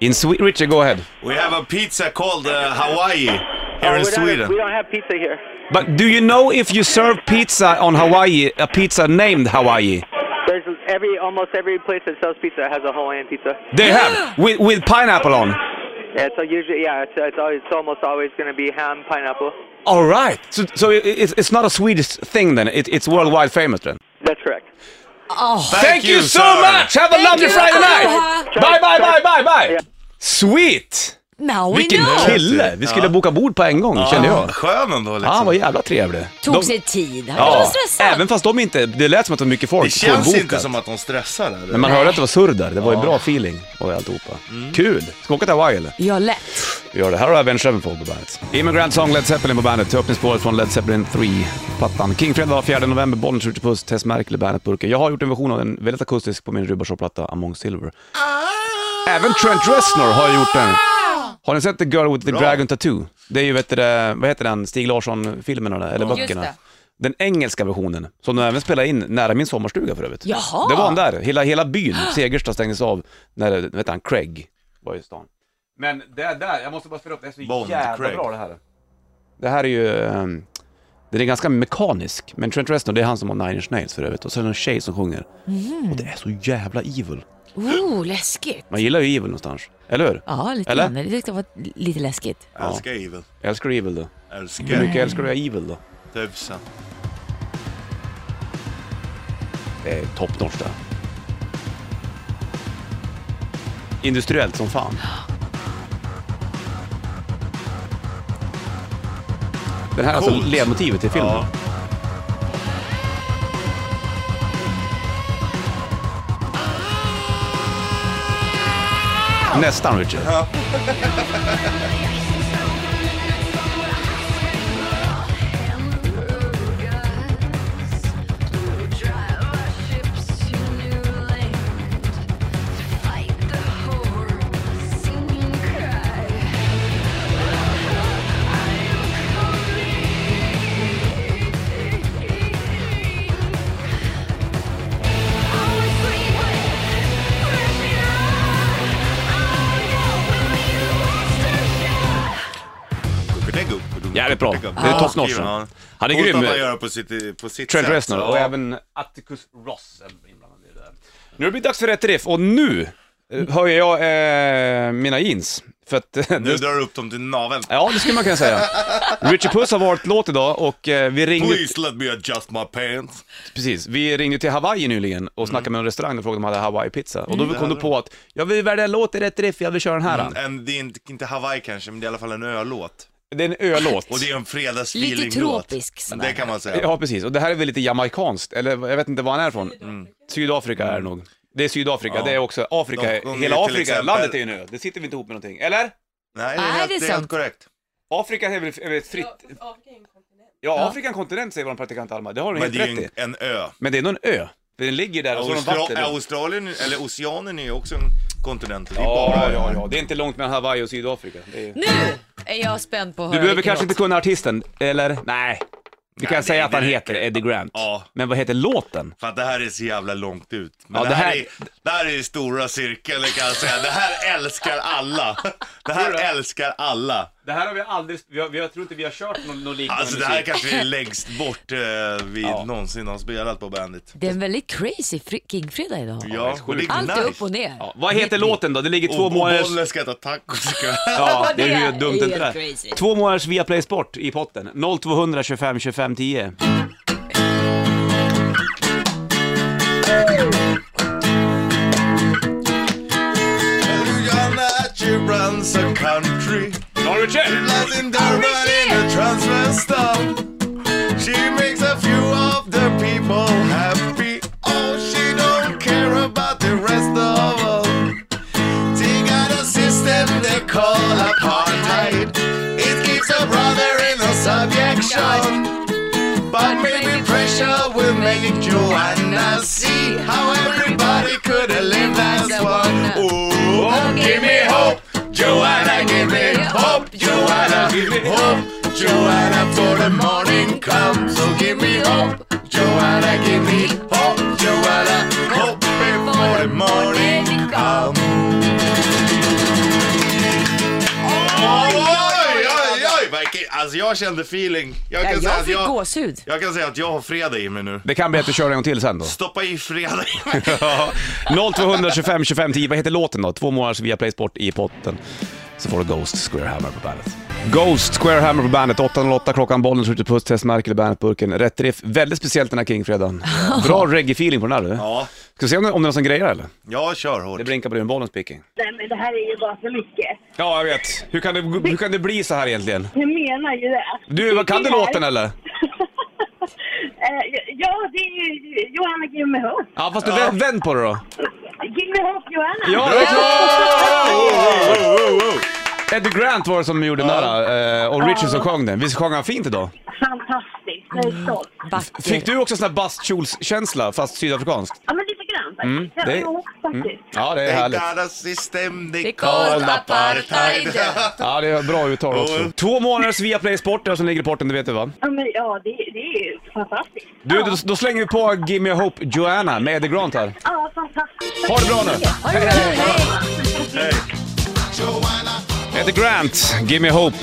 [SPEAKER 1] In Sweden, Richard, go ahead.
[SPEAKER 3] We have a pizza called uh, Hawaii here
[SPEAKER 6] Uh,
[SPEAKER 3] in
[SPEAKER 6] we don't have- we
[SPEAKER 3] Sweden.
[SPEAKER 6] don't have pizza here.
[SPEAKER 1] But do you know if you serve pizza on Hawaii, a pizza named Hawaii?
[SPEAKER 6] There's every almost every place that sells pizza has a Hawaiian pizza.
[SPEAKER 1] They
[SPEAKER 6] (gasps)
[SPEAKER 1] have, with, with pineapple on.
[SPEAKER 6] Yeah, so usually yeah, it's it's, always, it's almost always going to be ham, pineapple.
[SPEAKER 1] All right. So, so it, it's, it's not a Swedish thing then. It, it's worldwide famous then.
[SPEAKER 6] That's correct.
[SPEAKER 2] Ah,
[SPEAKER 3] Thank, you
[SPEAKER 1] so
[SPEAKER 3] sir.
[SPEAKER 1] much. Have a lovely
[SPEAKER 2] you.
[SPEAKER 1] Friday night.
[SPEAKER 2] Aloha.
[SPEAKER 1] Bye, bye, bye, bye, bye. Sweet.
[SPEAKER 2] Now we
[SPEAKER 1] Vilken
[SPEAKER 2] know!
[SPEAKER 1] kille. Vi skulle
[SPEAKER 3] Ja.
[SPEAKER 1] boka bord på en gång, kände jag.
[SPEAKER 3] Skön ändå liksom.
[SPEAKER 1] Ja, ah, vad jävla trevlig.
[SPEAKER 2] Tog
[SPEAKER 1] De-
[SPEAKER 2] sig tid. Han kanske var
[SPEAKER 1] Ja,
[SPEAKER 2] stressad.
[SPEAKER 1] även fast de inte, det lät som att det var mycket folk.
[SPEAKER 3] det känns inte
[SPEAKER 1] fullbokat.
[SPEAKER 3] som att de stressar där.
[SPEAKER 1] Men man hörde att det var surr där, det var ju bra feeling och alltihopa. Kul! Ska vi åka till Hawaii eller?
[SPEAKER 2] Ja, lätt.
[SPEAKER 1] Vi gör det. Här har Avenged Sevenfold på bandet. Immigrant Song, Led Zeppelin på bandet. Öppningsspåret från Led Zeppelin 3-plattan. Kingfredag 4 november, Bonniers Ute Puss, Tess Merkel i bandet-burken. Jag har gjort en version av den, väldigt akustisk, på min Rubbershow-platta Among Silver. Även Trent Reznor har gjort den. Har ni sett The Girl with the
[SPEAKER 3] Bra.
[SPEAKER 1] Dragon Tattoo? Det är ju, vet du, det, vad heter den, Stig Larsson-filmerna där, eller
[SPEAKER 2] Just
[SPEAKER 1] böckerna.
[SPEAKER 2] det.
[SPEAKER 1] Den engelska versionen, som de även spelade in nära min sommarstuga för övrigt.
[SPEAKER 2] Jaha.
[SPEAKER 1] Det var han där, hela, hela byn, Segersta stängdes av när, vet han, Craig var i stan. Men det där, jag måste bara spela upp, det är så
[SPEAKER 3] Bond,
[SPEAKER 1] jävla
[SPEAKER 3] Craig.
[SPEAKER 1] bra det här. Det här är ju, ehm, den är ganska mekanisk,
[SPEAKER 2] Mhm.
[SPEAKER 1] men Trent Reznor det är han som har Nine Inch Nails för övrigt och sen är det en tjej som sjunger. Och det är så jävla evil.
[SPEAKER 2] Oh, läskigt.
[SPEAKER 1] Man gillar ju evil någonstans, eller hur?
[SPEAKER 2] Ja, lite
[SPEAKER 1] Eller?
[SPEAKER 2] grann. Det tyckte jag var lite läskigt.
[SPEAKER 1] Ja.
[SPEAKER 3] Älskar evil.
[SPEAKER 1] Älskar du evil då? Hur
[SPEAKER 3] Älskar
[SPEAKER 1] mycket älskar du evil då?
[SPEAKER 3] tusen.
[SPEAKER 1] Det
[SPEAKER 3] Eh,
[SPEAKER 1] är toppnotch det. Industriellt som fan. Den här är alltså
[SPEAKER 3] Coolt.
[SPEAKER 1] ledmotivet till filmen.
[SPEAKER 3] Ja.
[SPEAKER 1] Nästan Richard. Jävligt bra. Det är toppnotch. Han är grym.
[SPEAKER 3] Coolt att han gör det på sitt, på sitt
[SPEAKER 1] Trent
[SPEAKER 3] sätt.
[SPEAKER 1] Reznor och
[SPEAKER 3] Ja.
[SPEAKER 1] även Atticus Ross är inblandad i det där. Nu har det blivit dags för rätt riff och nu eh, höjer jag eh, mina jeans. För att... (laughs)
[SPEAKER 3] Nu drar du upp dem till naveln.
[SPEAKER 1] ja, det skulle man kunna
[SPEAKER 3] (laughs)
[SPEAKER 1] säga. Richie Puss har valt låt idag och eh, vi ringde...
[SPEAKER 3] Please let me adjust my pants.
[SPEAKER 1] Precis, vi ringde till Hawaii nyligen och snackade med en restaurang och frågade om de hade Hawaii-pizza. Och
[SPEAKER 3] Mm.
[SPEAKER 1] då kom du på att, jag vill välja en låt i rätt riff, jag vill köra den här.
[SPEAKER 3] En, det är inte, inte Hawaii kanske, men det är i alla fall en ölåt.
[SPEAKER 1] Det är en ölåt.
[SPEAKER 3] Och det är en fredagsfeelinglåt.
[SPEAKER 2] Lite tropisk sådär.
[SPEAKER 3] Det kan man säga.
[SPEAKER 1] Ja, precis. Och det här är väl lite jamaikanskt, eller jag vet inte var han är ifrån. Sydafrika är det nog. Det är Sydafrika,
[SPEAKER 3] Mm. Ja.
[SPEAKER 1] det är också Afrika,
[SPEAKER 3] De sjunger
[SPEAKER 1] hela
[SPEAKER 3] till
[SPEAKER 1] Afrika,
[SPEAKER 3] exempel-
[SPEAKER 1] landet är ju nu. Det sitter vi inte ihop med någonting, eller?
[SPEAKER 3] Nej, det
[SPEAKER 2] Nej,
[SPEAKER 3] är helt,
[SPEAKER 2] det är
[SPEAKER 3] det är helt
[SPEAKER 2] sant.
[SPEAKER 3] korrekt.
[SPEAKER 1] Afrika är väl är väl ett fritt... Ja, Afrika är en kontinent säger vår praktikant Alma, det har hon
[SPEAKER 3] Men
[SPEAKER 1] helt
[SPEAKER 3] det är
[SPEAKER 1] rätt
[SPEAKER 3] ju
[SPEAKER 1] i.
[SPEAKER 3] en, en ö. Alltså,
[SPEAKER 1] Men det är nog en ö, för den ligger där och så har de vatten.
[SPEAKER 3] Austra-
[SPEAKER 1] Ja,
[SPEAKER 3] Australien, eller oceanen är ju också en kontinent. Det är bara
[SPEAKER 1] ja,
[SPEAKER 3] öar.
[SPEAKER 1] ja, ja, det är inte långt mellan Hawaii och Sydafrika. Det är...
[SPEAKER 2] Nu är jag spänd på att höra
[SPEAKER 1] Du behöver
[SPEAKER 2] vilken
[SPEAKER 1] kanske inte
[SPEAKER 2] låt.
[SPEAKER 1] kunna artisten, eller? Nej. Du kan
[SPEAKER 3] Nej,
[SPEAKER 1] säga
[SPEAKER 3] det-
[SPEAKER 1] att han
[SPEAKER 3] det
[SPEAKER 1] heter
[SPEAKER 3] räcker.
[SPEAKER 1] Eddie Grant.
[SPEAKER 3] Ja.
[SPEAKER 1] Men vad heter låten?
[SPEAKER 3] För att det här är så jävla långt ut. Men
[SPEAKER 1] Ja,
[SPEAKER 3] det,
[SPEAKER 1] det
[SPEAKER 3] här
[SPEAKER 1] här-
[SPEAKER 3] är, det här är stora cirkeln kan jag säga. Det här älskar alla. Det här
[SPEAKER 1] Hurra.
[SPEAKER 3] älskar alla.
[SPEAKER 1] Det här har vi aldrig, vi har, vi har, jag tror inte vi har kört någon, någon liknande
[SPEAKER 3] Alltså det här kanske är längst bort eh, vi någonsin har spelat på bandet.
[SPEAKER 2] Det är en väldigt crazy fri- Kingfredag idag.
[SPEAKER 3] Ja,
[SPEAKER 1] helt sjukt.
[SPEAKER 3] och det är
[SPEAKER 2] Allt är
[SPEAKER 3] nice.
[SPEAKER 2] upp och ner.
[SPEAKER 1] Ja, vad heter låten då? Det ligger två
[SPEAKER 3] Och
[SPEAKER 1] månaders...
[SPEAKER 3] bollen ska äta tacos ikväll.
[SPEAKER 1] (laughs) Ja,
[SPEAKER 2] Vad
[SPEAKER 1] det är ju
[SPEAKER 2] det
[SPEAKER 1] dumt
[SPEAKER 2] är
[SPEAKER 1] inte
[SPEAKER 2] helt
[SPEAKER 1] det
[SPEAKER 2] crazy.
[SPEAKER 1] Två månaders Viaplay Sport i potten. 0200 25 25 10.
[SPEAKER 3] Your nature runs a country. Lies in Durban in a transfer stop. She makes a few of the people happy. Oh, she don't care about the rest of us. She got a system they call apartheid. It keeps a brother in a subjection. But maybe pressure will make Joanna see how everybody could have lived as one. Ooh, give me hope, Joanna, give me hope, Joanna, give me hope, Joanna, for the morning comes. So give me hope, Joanna, give me hope, Joanna, hope before the morning comes. Oj, oj, oj! Vilken- Alltså jag kände feeling. Jag kan,
[SPEAKER 2] Ja,
[SPEAKER 3] säga
[SPEAKER 2] jag
[SPEAKER 3] att
[SPEAKER 2] fick
[SPEAKER 3] jag,
[SPEAKER 2] gåshud.
[SPEAKER 3] jag kan säga att jag har fredag i mig nu.
[SPEAKER 1] Det kan bli att du kör en gång till sen då.
[SPEAKER 3] Stoppa i fredag i mig.
[SPEAKER 1] 0200 25 25 10. Vad heter låten då? Två månaders Viaplay Sport i potten. Så får du Ghost Square Hammer på bandet. Ghost Square Hammer på bandet. 8.08 klockan, bollen skjuter puss, Tess Merkel i bandetburken. Rätt riff. Väldigt speciellt den här Kingfredagen. Bra reggae-feeling på den här du.
[SPEAKER 3] Ja,
[SPEAKER 1] Ska vi se om det, om det är någon som grejar eller?
[SPEAKER 3] jag kör hårt.
[SPEAKER 1] Det blinkar på din bollen speaking.
[SPEAKER 4] Nej men det här är ju bara för mycket.
[SPEAKER 1] Ja, jag vet. Hur kan det, hur kan det bli så här egentligen?
[SPEAKER 4] Jag menar ju det.
[SPEAKER 1] Du, vad kan du
[SPEAKER 4] Det är-
[SPEAKER 1] låten eller?
[SPEAKER 4] (laughs) Eh, ja, det är ju Johanna Give Me Hope.
[SPEAKER 1] Ja, fast du vä- vänd på det då.
[SPEAKER 4] Give Me Hope Johanna!
[SPEAKER 1] Ja, det är klart! Eddie Grant var det som gjorde den där eh, och Richard som sjöng den. Visst sjöng han fint idag?
[SPEAKER 4] Fantastiskt, jag är stolt.
[SPEAKER 2] Backer.
[SPEAKER 1] Fick du också sån här bastkjolskänsla fast sydafrikanskt?
[SPEAKER 4] Ja men lite grann faktiskt.
[SPEAKER 1] Mm, det- Mm.
[SPEAKER 4] Jo, faktiskt.
[SPEAKER 1] Ja, det är härligt.
[SPEAKER 3] Detta system, det
[SPEAKER 2] Because
[SPEAKER 3] kallar apartheid.
[SPEAKER 1] Ja, det är bra uttal också.
[SPEAKER 3] Ja.
[SPEAKER 1] Två månaders Viaplay Sport där som ligger i porten, det vet du va?
[SPEAKER 4] Ja, men, ja det, det är ju fantastiskt.
[SPEAKER 1] Du, då, då slänger vi på Gimme Hope Joanna med Eddie Grant här.
[SPEAKER 4] Ja, fantastiskt.
[SPEAKER 1] Ha det bra nu! Eddie Grant, Gimme Hope.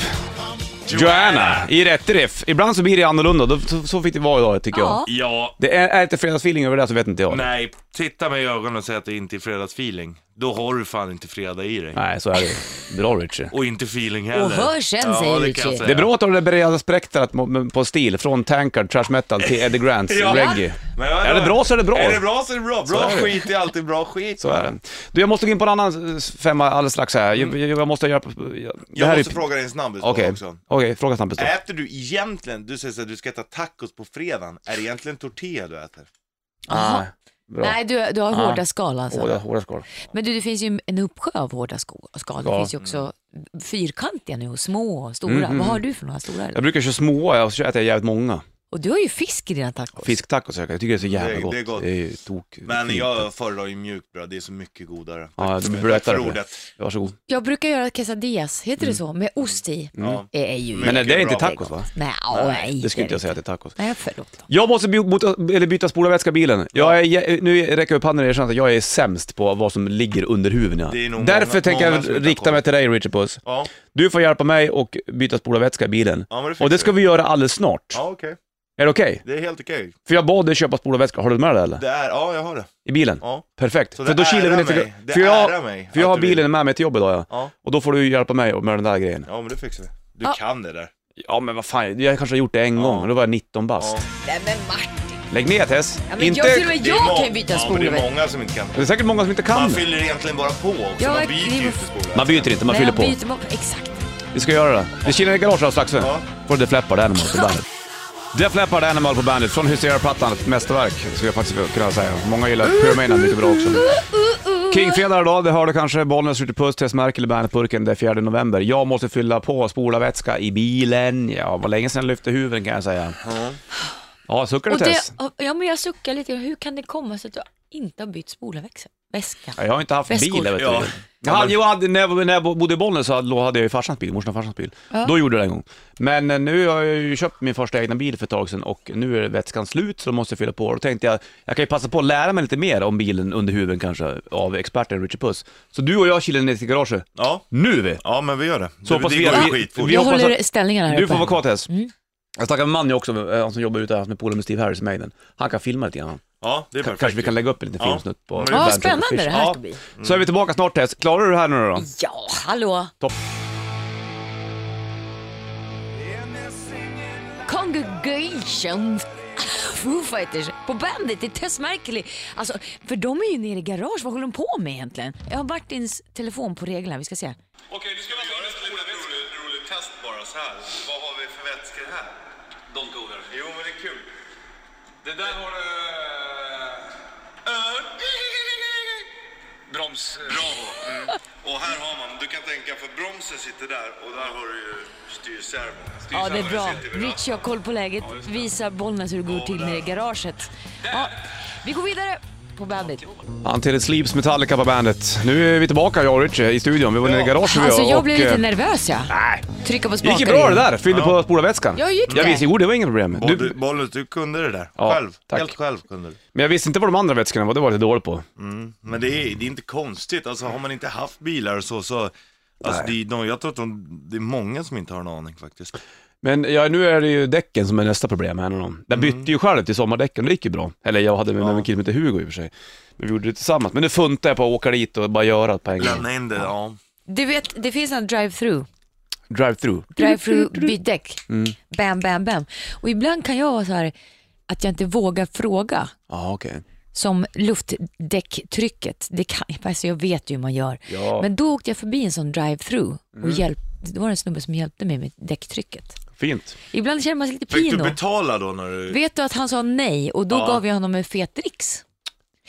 [SPEAKER 1] Joanna i rätt riff. Ibland så blir det annorlunda, Då- så- så fick det vara idag tycker jag.
[SPEAKER 2] Ja.
[SPEAKER 3] Ja,
[SPEAKER 1] Det är, är inte fredagsfeeling över det så vet inte jag.
[SPEAKER 3] nej. Titta mig i ögonen och säg att det inte är fredagsfeeling. Då har du fan inte fredag i dig.
[SPEAKER 1] Nej, så är det Bra Richie.
[SPEAKER 3] Och inte feeling heller.
[SPEAKER 2] Och hör sen, säger
[SPEAKER 3] det kan jag
[SPEAKER 2] Richie.
[SPEAKER 3] säga.
[SPEAKER 1] Det är bra att du har det breda spektrat mo- på stil, från tankard, trash metal till Eddie Grants
[SPEAKER 3] Ja.
[SPEAKER 1] reggae.
[SPEAKER 3] Men jag-
[SPEAKER 1] Är det bra så är det bra.
[SPEAKER 3] Är det bra så är det bra. Bra
[SPEAKER 1] är det.
[SPEAKER 3] skit är alltid bra skit.
[SPEAKER 1] Så är det. Du, jag måste gå in på en annan s- femma alldeles strax här. Jag, jag, jag måste göra... Jag, det
[SPEAKER 3] Mm. Jag
[SPEAKER 1] här
[SPEAKER 3] måste
[SPEAKER 1] är-
[SPEAKER 3] fråga dig en snabbis
[SPEAKER 1] Okej,
[SPEAKER 3] okay. också. Äh.
[SPEAKER 1] Okej, fråga snabbt. då.
[SPEAKER 3] Äter du egentligen, du säger att du ska äta tacos på fredagen, är det egentligen tortilla du äter?
[SPEAKER 2] Jaha.
[SPEAKER 1] Ah, Bra. Ah.
[SPEAKER 2] Nej, du, du har
[SPEAKER 1] Ja.
[SPEAKER 2] hårda skal alltså.
[SPEAKER 1] Hårda, hårda skal.
[SPEAKER 2] Men du, det finns ju en uppsjö av hårda sko- skal. Det
[SPEAKER 1] Ja.
[SPEAKER 2] finns ju också fyrkantiga nu och små och stora.
[SPEAKER 1] Mm, mm,
[SPEAKER 2] Vad har du för några stora?
[SPEAKER 1] Jag brukar köra små, jag äter jag jävligt många.
[SPEAKER 2] Och du har ju fisk i dina tacos.
[SPEAKER 1] Fisktacos jag tycker det är så jävla
[SPEAKER 3] Det- det
[SPEAKER 1] gott.
[SPEAKER 3] är gott.
[SPEAKER 1] Det är ju tok.
[SPEAKER 3] Men
[SPEAKER 1] fint.
[SPEAKER 3] jag föredrar ju mjukt bröd, det är så mycket godare.
[SPEAKER 1] Ja,
[SPEAKER 3] Tack
[SPEAKER 1] det blir
[SPEAKER 3] för- tack
[SPEAKER 1] blötare
[SPEAKER 3] för
[SPEAKER 1] på det.
[SPEAKER 3] ordet.
[SPEAKER 1] Varsågod.
[SPEAKER 2] Jag brukar göra quesadillas, heter det så? Med ost i.
[SPEAKER 3] Ja.
[SPEAKER 2] Det är ju...
[SPEAKER 1] Mm. Men det är inte
[SPEAKER 3] bra.
[SPEAKER 1] tacos va?
[SPEAKER 2] Nej, åh, nej,
[SPEAKER 1] Det skulle inte
[SPEAKER 2] är
[SPEAKER 1] jag säga att det är tacos.
[SPEAKER 2] Nej, förlåt. då.
[SPEAKER 1] Jag måste by- byta, eller byta spolarvätska i bilen. Jag är, jä- nu räcker jag upp handen och erkänner att jag är sämst på vad som ligger under huven. Ja.
[SPEAKER 3] Det är nog
[SPEAKER 1] Därför
[SPEAKER 3] många-
[SPEAKER 1] tänker
[SPEAKER 3] många som
[SPEAKER 1] jag
[SPEAKER 3] inte har
[SPEAKER 1] rikta mig
[SPEAKER 3] koll.
[SPEAKER 1] till dig Richard Puss.
[SPEAKER 3] Ja,
[SPEAKER 1] Du får hjälpa mig och byta spolarvätska i bilen.
[SPEAKER 3] ja men det fixar
[SPEAKER 1] Och det ska vi göra alldeles snart.
[SPEAKER 3] Ja okej,
[SPEAKER 1] Är det okej?
[SPEAKER 3] det är helt okej.
[SPEAKER 1] För jag bad dig köpa spolarvätska, har du med det eller?
[SPEAKER 3] Det är, ja jag har det.
[SPEAKER 1] I bilen?
[SPEAKER 3] Ja.
[SPEAKER 1] Perfekt.
[SPEAKER 3] Så
[SPEAKER 1] för
[SPEAKER 3] det
[SPEAKER 1] då kilar vi
[SPEAKER 3] ärar
[SPEAKER 1] ner till...
[SPEAKER 3] mig. Det
[SPEAKER 1] för jag,
[SPEAKER 3] ärar mig
[SPEAKER 1] för jag
[SPEAKER 3] att
[SPEAKER 1] har
[SPEAKER 3] du vill.
[SPEAKER 1] bilen med mig till jobbet idag ja.
[SPEAKER 3] Ja.
[SPEAKER 1] Och då får du hjälpa mig med den där grejen.
[SPEAKER 3] Ja men det fixar vi. Du
[SPEAKER 2] Ja.
[SPEAKER 3] kan det där.
[SPEAKER 1] Ja men vad fan, jag kanske har gjort det en gång, då var jag 19 bast.
[SPEAKER 3] Ja.
[SPEAKER 2] Nej, men Martin.
[SPEAKER 1] Lägg ner Tess!
[SPEAKER 2] Ja, men
[SPEAKER 1] inte...
[SPEAKER 2] jag, till och med
[SPEAKER 3] Det är
[SPEAKER 2] jag
[SPEAKER 3] må-
[SPEAKER 2] kan ju byta
[SPEAKER 3] Ja men det
[SPEAKER 2] skolor.
[SPEAKER 3] är många som inte kan.
[SPEAKER 1] Det är säkert många som inte kan
[SPEAKER 3] Man
[SPEAKER 1] det.
[SPEAKER 3] fyller egentligen bara på också,
[SPEAKER 2] Ja,
[SPEAKER 3] man
[SPEAKER 2] men-
[SPEAKER 3] byter ju inte skola.
[SPEAKER 1] Man byter inte, man fyller på.
[SPEAKER 2] byter på. Exakt.
[SPEAKER 1] Vi ska göra det. Vi kilar i garaget alldeles strax.
[SPEAKER 3] Ja.
[SPEAKER 1] Får du Flappard Animal på bandet. Def Leppard Animal på bandet från Hysteria-plattan, ett mästerverk skulle jag faktiskt kunna säga. Många gillar Pyromania mycket bra också. Kingfredag idag, det hör du kanske. Bollnäs skjuter puss, Tess Merkel i Bandetburken, det är 4 november. Jag måste fylla på spolarvätska i bilen. Ja, var länge sedan jag lyfte huven kan jag säga. Ja, suckar du
[SPEAKER 2] Och det,
[SPEAKER 1] Tess?
[SPEAKER 2] ja, men jag suckar lite. Hur kan det komma sig att du inte har bytt spolarväxel? Väska?
[SPEAKER 1] Ja, Jag har inte haft
[SPEAKER 2] Väskor.
[SPEAKER 1] bil, jag vet
[SPEAKER 3] Ja.
[SPEAKER 1] du. Jag hade, jag hade, när, jag, när jag bodde i Bollnäs så hade då hade jag ju farsans bil, morsan och farsans bil. Då gjorde jag det en gång. Men eh, nu har jag ju köpt min första egna bil för ett tag sedan och nu är vätskan slut så då måste jag fylla på. Då tänkte jag, jag kan ju passa på att lära mig lite mer om bilen under huven kanske av experten Richard Puss. Så du och jag kilar ner till garaget.
[SPEAKER 3] Ja.
[SPEAKER 1] Nu vi!
[SPEAKER 3] ja men vi gör det.
[SPEAKER 1] Så
[SPEAKER 3] det,
[SPEAKER 1] hoppas
[SPEAKER 3] det
[SPEAKER 1] vi-
[SPEAKER 3] går ju
[SPEAKER 1] vi-
[SPEAKER 3] skitfort.
[SPEAKER 1] vi-
[SPEAKER 2] jag Mm.
[SPEAKER 1] hoppas
[SPEAKER 2] håller ställningarna här
[SPEAKER 1] Du
[SPEAKER 2] uppe.
[SPEAKER 1] får vara kvar Tess. Jag snackade med en man jag också, eh, han som jobbar ute här med polare med Steve Harris i Maiden. Han kan filma lite grann.
[SPEAKER 3] Ja det är perfekt.
[SPEAKER 1] Kanske vi kan lägga upp en liten
[SPEAKER 3] Ja.
[SPEAKER 1] filmsnutt på...
[SPEAKER 3] Ja,
[SPEAKER 1] på
[SPEAKER 2] Ja,
[SPEAKER 1] Bandit
[SPEAKER 2] spännande
[SPEAKER 1] Fish.
[SPEAKER 2] det här
[SPEAKER 1] Ja.
[SPEAKER 2] ska bli.
[SPEAKER 1] Så är vi tillbaka snart Tess. Klarar du det här nu då?
[SPEAKER 2] Ja, hallå.
[SPEAKER 1] Topp.
[SPEAKER 2] Congregation. Foo Fighters på Bandit i Tess Merkley. Alltså, för de är ju nere i garage. Vad håller de på med egentligen? Jag har Martins telefon på reglerna. Vi ska se.
[SPEAKER 7] Okej, nu ska vi göra ett roligt, roligt test bara så här. Vad har vi för vätskor här? De goder. Jo, men det är kul. Det där har du... eh, Broms. Bravo. Mm.
[SPEAKER 8] Och här har man, du kan tänka för bromsen sitter där och där har du ju styrservon.
[SPEAKER 2] Ja, det är bra. Richie har koll på läget. Visar Bollnäs hur det går till nere i garaget. Ja, vi går vidare på Bandit.
[SPEAKER 1] Until it sleeps Metallica på bandet. Nu är vi tillbaka jag och Richie i studion. Vi var nere i garaget vi
[SPEAKER 2] Alltså,
[SPEAKER 1] och-
[SPEAKER 2] jag blev
[SPEAKER 1] och,
[SPEAKER 2] lite
[SPEAKER 1] eh,
[SPEAKER 2] nervös ja.
[SPEAKER 1] Nej.
[SPEAKER 2] Trycka på
[SPEAKER 1] Det
[SPEAKER 2] spakarna.
[SPEAKER 1] gick ju bra det där. Fyllde på spolarvätskan.
[SPEAKER 2] Ja, gick
[SPEAKER 1] Jag
[SPEAKER 2] det?
[SPEAKER 1] visste, jo det var inget problem.
[SPEAKER 3] Boll-
[SPEAKER 1] Du,
[SPEAKER 3] Bollnäs, du kunde det där.
[SPEAKER 1] Ja,
[SPEAKER 3] själv.
[SPEAKER 1] tack.
[SPEAKER 3] Helt själv kunde du.
[SPEAKER 1] men jag visste inte vad de andra vätskorna var, det var jag lite dålig på.
[SPEAKER 3] Men det är, det är inte konstigt, alltså har man inte haft bilar och så, så alltså, det är, de, jag tror att de, det är många som inte har en aning faktiskt.
[SPEAKER 1] Men ja, nu är det ju däcken som är nästa problem här. Mm. Jag bytte ju själv till sommardäcken, det gick ju bra. Eller jag hade med mig en kille som hette Hugo i och för sig. Men vi gjorde det tillsammans. Men nu funtar jag på att åka dit och bara göra det på en gång.
[SPEAKER 3] Lämna in det, ja.
[SPEAKER 2] Du vet, det finns en drive-through.
[SPEAKER 1] Drive-through.
[SPEAKER 2] Drive-through, byt däck. Bam, bam, bam. Och ibland kan jag vara så här att jag inte vågar fråga.
[SPEAKER 1] Ja, okej.
[SPEAKER 2] Som luftdäcktrycket. Det kan, (laughs) alltså jag vet ju hur man gör.
[SPEAKER 1] Ja.
[SPEAKER 2] Men då åkte jag förbi en sån drive-through och hjälp, det var en snubbe som hjälpte mig med däcktrycket.
[SPEAKER 1] Fint.
[SPEAKER 2] Ibland känner man sig lite
[SPEAKER 3] Fick
[SPEAKER 2] pino.
[SPEAKER 3] du betala då när du...
[SPEAKER 2] Vet du att han sa nej och då
[SPEAKER 3] Ja.
[SPEAKER 2] gav jag honom en fet dricks.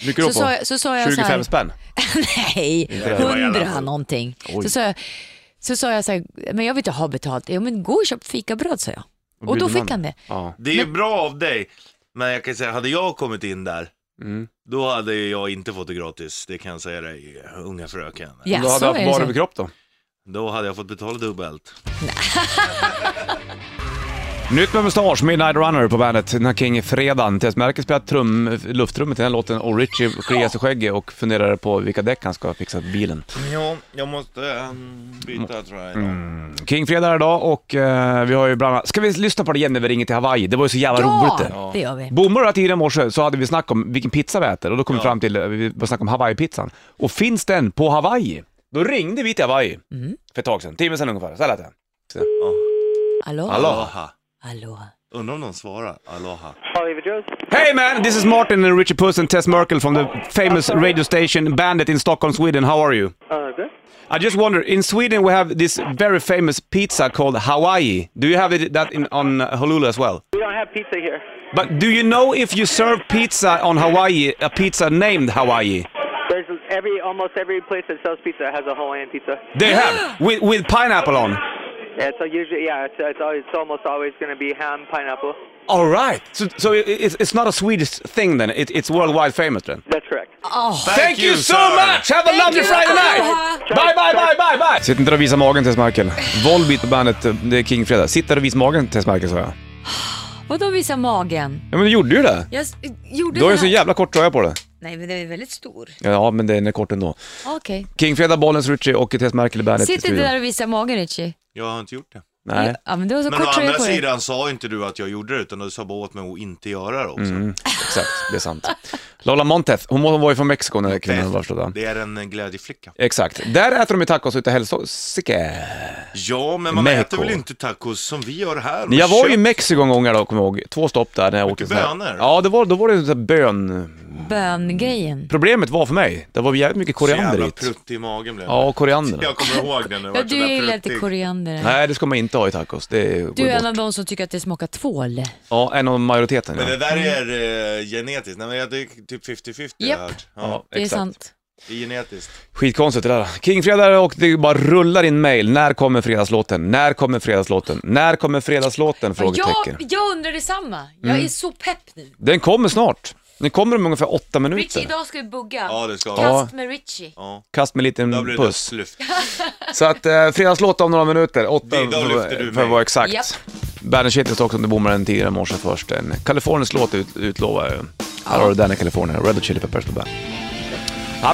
[SPEAKER 1] Mycket
[SPEAKER 2] Så
[SPEAKER 1] då
[SPEAKER 2] sa
[SPEAKER 1] på?
[SPEAKER 2] jag, så sa jag så
[SPEAKER 1] 25
[SPEAKER 2] här,
[SPEAKER 1] spänn.
[SPEAKER 2] (laughs) nej,
[SPEAKER 3] det var jävla
[SPEAKER 2] hundra
[SPEAKER 3] sjukt.
[SPEAKER 2] någonting. Så sa, jag, så sa jag så här, men jag vill inte ha betalt. Jo men gå och köp fikabröd sa jag. Och,
[SPEAKER 1] bjuder
[SPEAKER 2] då fick
[SPEAKER 1] man?
[SPEAKER 2] han det.
[SPEAKER 1] Ja.
[SPEAKER 3] Det är ju bra av dig, men jag kan säga, hade jag kommit in där, då hade jag inte fått det gratis, det kan jag säga dig, unga fröken.
[SPEAKER 2] Ja,
[SPEAKER 1] Då hade
[SPEAKER 2] så
[SPEAKER 1] jag
[SPEAKER 2] är
[SPEAKER 1] haft
[SPEAKER 2] det
[SPEAKER 1] bar
[SPEAKER 2] så.
[SPEAKER 1] överkropp då.
[SPEAKER 3] Då hade jag fått betala dubbelt.
[SPEAKER 1] Nytt med mustasch, Midnight Runner på bandet, när King fredagen. Tess Merkel spelar trum, luftrummet i den här låten och Richie kliar sig i skägget och funderar på vilka däck han ska fixa till bilen.
[SPEAKER 3] Ja, jag måste ehm, byta tror jag idag.
[SPEAKER 1] King fredag idag och eh, vi har ju bland annat... Ska vi lyssna på det igen när vi ringer till Hawaii? Det var ju så jävla roligt det.
[SPEAKER 2] Ja, det gör vi.
[SPEAKER 1] Bommar du tidigare i morse så hade vi snack om vilken pizza vi äter och då kom vi fram till, eh, vi började snacka om Hawaii-pizzan. Och finns den på Hawaii? Då ringde vi till Hawaii för ett tag sedan, tio minuter sedan ungefär, så här lät det.
[SPEAKER 2] Hallå?
[SPEAKER 3] Aloha.
[SPEAKER 2] Hallå?
[SPEAKER 3] Undrar om någon svarar. Aloha.
[SPEAKER 6] Oliver Jones.
[SPEAKER 1] Hey man, this is Martin and Richard Puss and Tess Merkel from the famous radio station Bandit in Stockholm, Sweden. How are you?
[SPEAKER 6] Uh, good.
[SPEAKER 1] I just wonder, in Sweden we have this very famous pizza called Hawaii. Do you have it that in, on Honolulu as well?
[SPEAKER 6] We don't have pizza here.
[SPEAKER 1] But do you know if you serve pizza on Hawaii, a pizza named Hawaii?
[SPEAKER 6] There's every almost every place that sells pizza has a Hawaiian pizza.
[SPEAKER 1] They have, with, with pineapple on.
[SPEAKER 6] Yeah, so usually yeah, it's it's, always, it's almost always going to be ham, pineapple.
[SPEAKER 1] All right. So, so it, it's, it's not a Swedish thing then, it, it's worldwide famous then.
[SPEAKER 6] That's correct.
[SPEAKER 3] Thank,
[SPEAKER 1] Have a lovely Friday
[SPEAKER 2] Aloha.
[SPEAKER 1] Bye, bye, bye, bye, bye! Sitt inte där och visa magen Tess Merkel. Volbeat på bandet, eh, det är King Fredag. Sitt där och visa magen Tess Merkel sa jag.
[SPEAKER 2] Vadå visa magen?
[SPEAKER 1] Ja men du gjorde ju det.
[SPEAKER 2] Jag s- gjorde
[SPEAKER 1] Du har ju
[SPEAKER 2] den
[SPEAKER 1] så
[SPEAKER 2] här-
[SPEAKER 1] jävla kort tröja på dig.
[SPEAKER 2] Nej men den är väldigt stor.
[SPEAKER 1] Ja men den är kort ändå.
[SPEAKER 2] Okej.
[SPEAKER 1] King Fredag, Bollens Ritchie och Tess Merkel i bandet i
[SPEAKER 2] Sitt inte
[SPEAKER 1] studion.
[SPEAKER 2] där och visa magen Richie.
[SPEAKER 3] Jag har inte gjort det.
[SPEAKER 1] Nej.
[SPEAKER 2] Ja men du har så
[SPEAKER 3] Men å
[SPEAKER 2] kort tröja
[SPEAKER 3] andra
[SPEAKER 2] på dig.
[SPEAKER 3] sidan sa inte du att jag gjorde det utan du sa bara åt mig att inte göra det också.
[SPEAKER 1] Mm, Exakt, det är sant. Lola Montez, hon var ju från Mexiko när kvinnan var förstådd.
[SPEAKER 3] Det är en eh, glädjeflicka.
[SPEAKER 1] Exakt. Där äter de ju tacos ute i hälsosike.
[SPEAKER 3] Ja, men man
[SPEAKER 1] Mexiko.
[SPEAKER 3] äter väl inte tacos som vi gör här? med
[SPEAKER 1] Jag var ju i
[SPEAKER 3] kött?
[SPEAKER 1] Mexiko en gång här då, kommer jag ihåg. Två stopp där när jag åkte
[SPEAKER 3] Mycket
[SPEAKER 1] sån här-
[SPEAKER 3] bönor.
[SPEAKER 1] Ja, det var, då var det en sån här bön...
[SPEAKER 2] Böngrejen.
[SPEAKER 1] Problemet var för mig, det var jävligt mycket
[SPEAKER 3] Så
[SPEAKER 1] koriander
[SPEAKER 3] jävla
[SPEAKER 1] i.
[SPEAKER 3] prutt i magen blev
[SPEAKER 1] Ja,
[SPEAKER 3] det.
[SPEAKER 1] och koriander.
[SPEAKER 3] Jag kommer ihåg det nu.
[SPEAKER 2] Ja,
[SPEAKER 3] vart så
[SPEAKER 2] du
[SPEAKER 3] där
[SPEAKER 2] gillar inte
[SPEAKER 3] pruttig.
[SPEAKER 2] koriander.
[SPEAKER 1] Nej, det ska man inte ha i tacos. Det går
[SPEAKER 2] Du är en
[SPEAKER 1] bort.
[SPEAKER 2] av de som tycker att det smakar tvål.
[SPEAKER 1] Ja, en av majoriteten.
[SPEAKER 3] Men det
[SPEAKER 1] Ja.
[SPEAKER 3] där är eh, genetiskt. Nej, men jag- det är typ 50-50 har jag
[SPEAKER 2] Japp.
[SPEAKER 3] hört. Ja,
[SPEAKER 1] Ja,
[SPEAKER 2] Det är
[SPEAKER 1] exakt.
[SPEAKER 2] sant.
[SPEAKER 3] det är genetiskt.
[SPEAKER 1] Skitkonstigt det där. Kingfredag och det bara rullar in mail. När kommer fredagslåten? När kommer fredagslåten? När kommer fredagslåten? Frågetecken. Mm.
[SPEAKER 2] Jag, jag undrar detsamma. Jag är så pepp nu.
[SPEAKER 1] Den kommer snart. Den kommer om ungefär åtta
[SPEAKER 2] Richie,
[SPEAKER 1] minuter.
[SPEAKER 2] idag ska vi bugga.
[SPEAKER 3] Ja, det ska vi.
[SPEAKER 1] Ja.
[SPEAKER 2] Kast med Richie.
[SPEAKER 3] Ja.
[SPEAKER 1] Kast med en
[SPEAKER 3] Då
[SPEAKER 1] liten
[SPEAKER 3] blir det
[SPEAKER 1] puss.
[SPEAKER 3] sluft.
[SPEAKER 1] Så att eh, fredagslåt om några minuter. Åtta
[SPEAKER 3] Det- då
[SPEAKER 1] för,
[SPEAKER 3] lyfter du
[SPEAKER 1] för att
[SPEAKER 3] mig.
[SPEAKER 1] vara exakt.
[SPEAKER 2] Japp.
[SPEAKER 1] Bandit Shit också om du bommade den tidigare i morse först. En Kaliforniens låt ut, utlovar jag ju. Här har du den i Kalifornien. Red Hot Chili Peppers på bandet.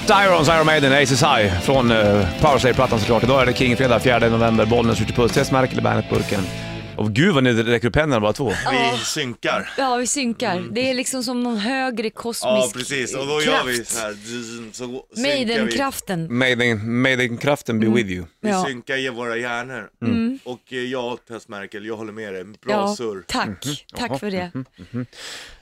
[SPEAKER 1] Up to Irons, Iron Maiden, Aces High från uh, Powerslave-plattan såklart. Idag är det King-fredag, 4 november. Bollnäs, Ritchie Puss, Tess Merkel i Bandet-burken. Och gud vad ni räcker upp händerna bara två.
[SPEAKER 3] Vi synkar.
[SPEAKER 2] Ja, vi synkar.
[SPEAKER 1] Mm.
[SPEAKER 2] Det är liksom som någon högre kosmisk
[SPEAKER 3] Ja, precis. Och då
[SPEAKER 2] kraft.
[SPEAKER 3] gör vi så här. zzz, Så synkar vi.
[SPEAKER 1] Mm.
[SPEAKER 2] Maiden-kraften.
[SPEAKER 1] Maiden, Maiden-kraften be with you.
[SPEAKER 3] Vi
[SPEAKER 2] Ja. Mm.
[SPEAKER 3] synkar i våra hjärnor.
[SPEAKER 1] Mm.
[SPEAKER 3] Och eh, ja, Tess Merkel, jag håller med dig. Bra
[SPEAKER 2] Ja,
[SPEAKER 3] surr.
[SPEAKER 2] tack.
[SPEAKER 1] Mm-hmm.
[SPEAKER 2] Tack för det.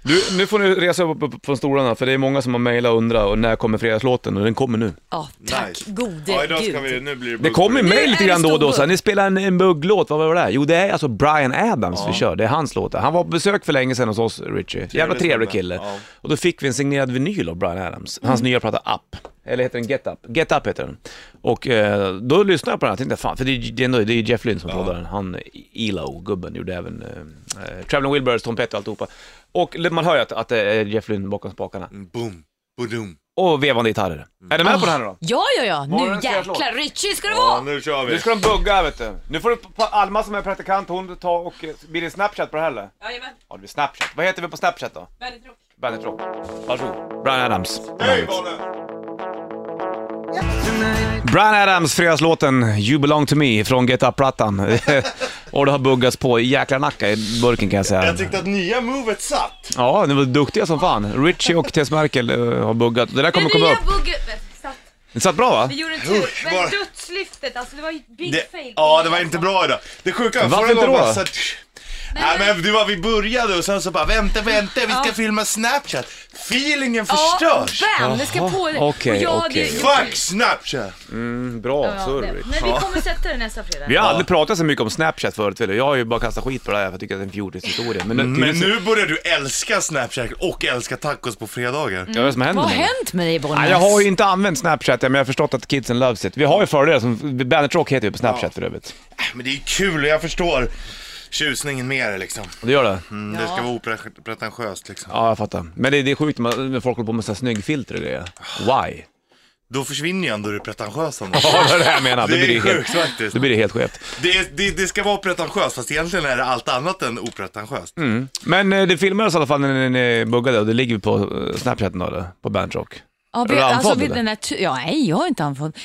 [SPEAKER 1] Du, nu får ni resa upp, upp från stolarna för det är många som har mejlat och undrat och när kommer fredagslåten och den kommer nu.
[SPEAKER 2] Ja, tack
[SPEAKER 3] Nice.
[SPEAKER 2] gode
[SPEAKER 3] Ja, idag ska
[SPEAKER 2] gud.
[SPEAKER 3] vi, nu blir det
[SPEAKER 1] Det
[SPEAKER 3] buss på
[SPEAKER 1] kommer
[SPEAKER 3] det.
[SPEAKER 1] mejl
[SPEAKER 2] Nu
[SPEAKER 1] lite
[SPEAKER 2] är det
[SPEAKER 1] grann då och då.
[SPEAKER 2] stor
[SPEAKER 1] Så här, ni spelar en, en bugglåt, vad var det där? Jo, det är alltså Brian Adams vi kör. Det är hans låt. Han var på besök för länge sedan hos oss, Richie. Jävla trevlig
[SPEAKER 3] snubbe.
[SPEAKER 1] kille.
[SPEAKER 3] Ja.
[SPEAKER 1] Och då fick vi en signerad vinyl av Brian Adams. Hans
[SPEAKER 2] Mm.
[SPEAKER 1] nya platta Up. Eller heter den Get Up? Get Up heter den. Och eh, då lyssnade jag på den och tänkte, fan, för det är ju det är ändå- det är ju Jeff Lynne som proddar den. Han, ELO-gubben, gjorde även eh, eh, Traveling Wilburys, Tom Petty och alltihopa. Och man hör ju att, att det är Jeff Lynne bakom spakarna.
[SPEAKER 3] Boom, boom.
[SPEAKER 1] Och vevande gitarrer. Är du
[SPEAKER 2] Ah.
[SPEAKER 1] med på den här nu då?
[SPEAKER 2] Ja, ja, ja.
[SPEAKER 1] Var
[SPEAKER 2] Nu
[SPEAKER 1] det en fräsch låt?
[SPEAKER 2] jäklar. Richie ska det
[SPEAKER 3] Ja,
[SPEAKER 2] vara.
[SPEAKER 3] nu kör vi.
[SPEAKER 1] Nu ska de bugga vet du. Nu får du, på- Alma som är praktikant, hon tar och, eh, blir det Snapchat på det här eller?
[SPEAKER 9] Jajamän,
[SPEAKER 1] Ja det blir Snapchat. Vad heter vi på Snapchat då?
[SPEAKER 9] väldigt roligt.
[SPEAKER 1] Bandet Rock. Varsågod. Brian Adams.
[SPEAKER 3] Hej, bollen!
[SPEAKER 1] Brian Adams, fredagslåten You belong to me från Get
[SPEAKER 3] (laughs)
[SPEAKER 1] Up-plattan. och det har buggats på i jäkla nacka i burken kan jag säga.
[SPEAKER 3] Jag tyckte att nya movet satt.
[SPEAKER 1] Ja, ni var duktiga som fan. Richie och Tess Merkel eh, har buggat. Det där kommer komma upp. Det satt bra va?
[SPEAKER 9] Vi gjorde en
[SPEAKER 3] Usch,
[SPEAKER 9] tur,
[SPEAKER 3] bara-
[SPEAKER 9] men dödslyftet, alltså det var ju big fail.
[SPEAKER 3] Det, ja, det var inte bra idag. Det sjuka
[SPEAKER 1] Varför
[SPEAKER 3] förra
[SPEAKER 1] inte
[SPEAKER 3] gången
[SPEAKER 1] då?
[SPEAKER 3] var så att... Nej men det var vi började och sen så bara vänta, vänta, vi ska filma Snapchat. Feelingen förstörs.
[SPEAKER 2] Ja, bam, det ska på.
[SPEAKER 1] Jaha,
[SPEAKER 2] Och
[SPEAKER 1] okej,
[SPEAKER 2] jag hade
[SPEAKER 1] okej.
[SPEAKER 2] ju-
[SPEAKER 3] Fuck Snapchat!
[SPEAKER 1] Bra,
[SPEAKER 9] Ja, det-
[SPEAKER 1] surr.
[SPEAKER 9] Men vi kommer sätta det nästa fredag.
[SPEAKER 1] Vi har aldrig pratat så mycket om Snapchat förut, eller? jag har ju bara kastat skit på det här för jag tycker att det är en fjortishistoria. Men,
[SPEAKER 3] Men nu börjar du älska Snapchat och älska tacos på fredagar.
[SPEAKER 2] Mm.
[SPEAKER 1] Ja, vad som händer
[SPEAKER 2] Vad har
[SPEAKER 1] nu?
[SPEAKER 2] hänt med dig Bollnäs?
[SPEAKER 1] Nej, jag har ju inte använt Snapchat men jag har förstått att kidsen loves it. Vi har ju följare som, Bandet Rock heter ju på Snapchat för övrigt.
[SPEAKER 3] Men det är kul och jag förstår tjusningen med det liksom.
[SPEAKER 1] Och det gör det?
[SPEAKER 3] Mm, Det ska vara opretentiöst liksom.
[SPEAKER 1] Ja, jag fattar. Men det, det är sjukt när man- när folk håller på med sådana snygg filter och grejer. Why?
[SPEAKER 3] Då försvinner ju ändå det pretentiösa.
[SPEAKER 1] Ja, det är det jag menar. Då
[SPEAKER 3] Det
[SPEAKER 1] blir
[SPEAKER 3] är
[SPEAKER 1] det
[SPEAKER 3] sjukt
[SPEAKER 1] helt,
[SPEAKER 3] faktiskt.
[SPEAKER 1] då blir det helt skevt.
[SPEAKER 3] Det, det, det ska vara pretentiöst, fast egentligen är det allt annat än opretentiöst.
[SPEAKER 1] Men eh, det filmades i alla fall när ni buggade och det ligger på eh, Snapchat nu eller? På Bandrock.
[SPEAKER 2] Ja,
[SPEAKER 1] Är
[SPEAKER 2] vi,
[SPEAKER 1] du
[SPEAKER 2] alltså,
[SPEAKER 1] andfådd,
[SPEAKER 2] vi,
[SPEAKER 1] eller?
[SPEAKER 2] den här tu- ja, nej, jag har inte andfådd.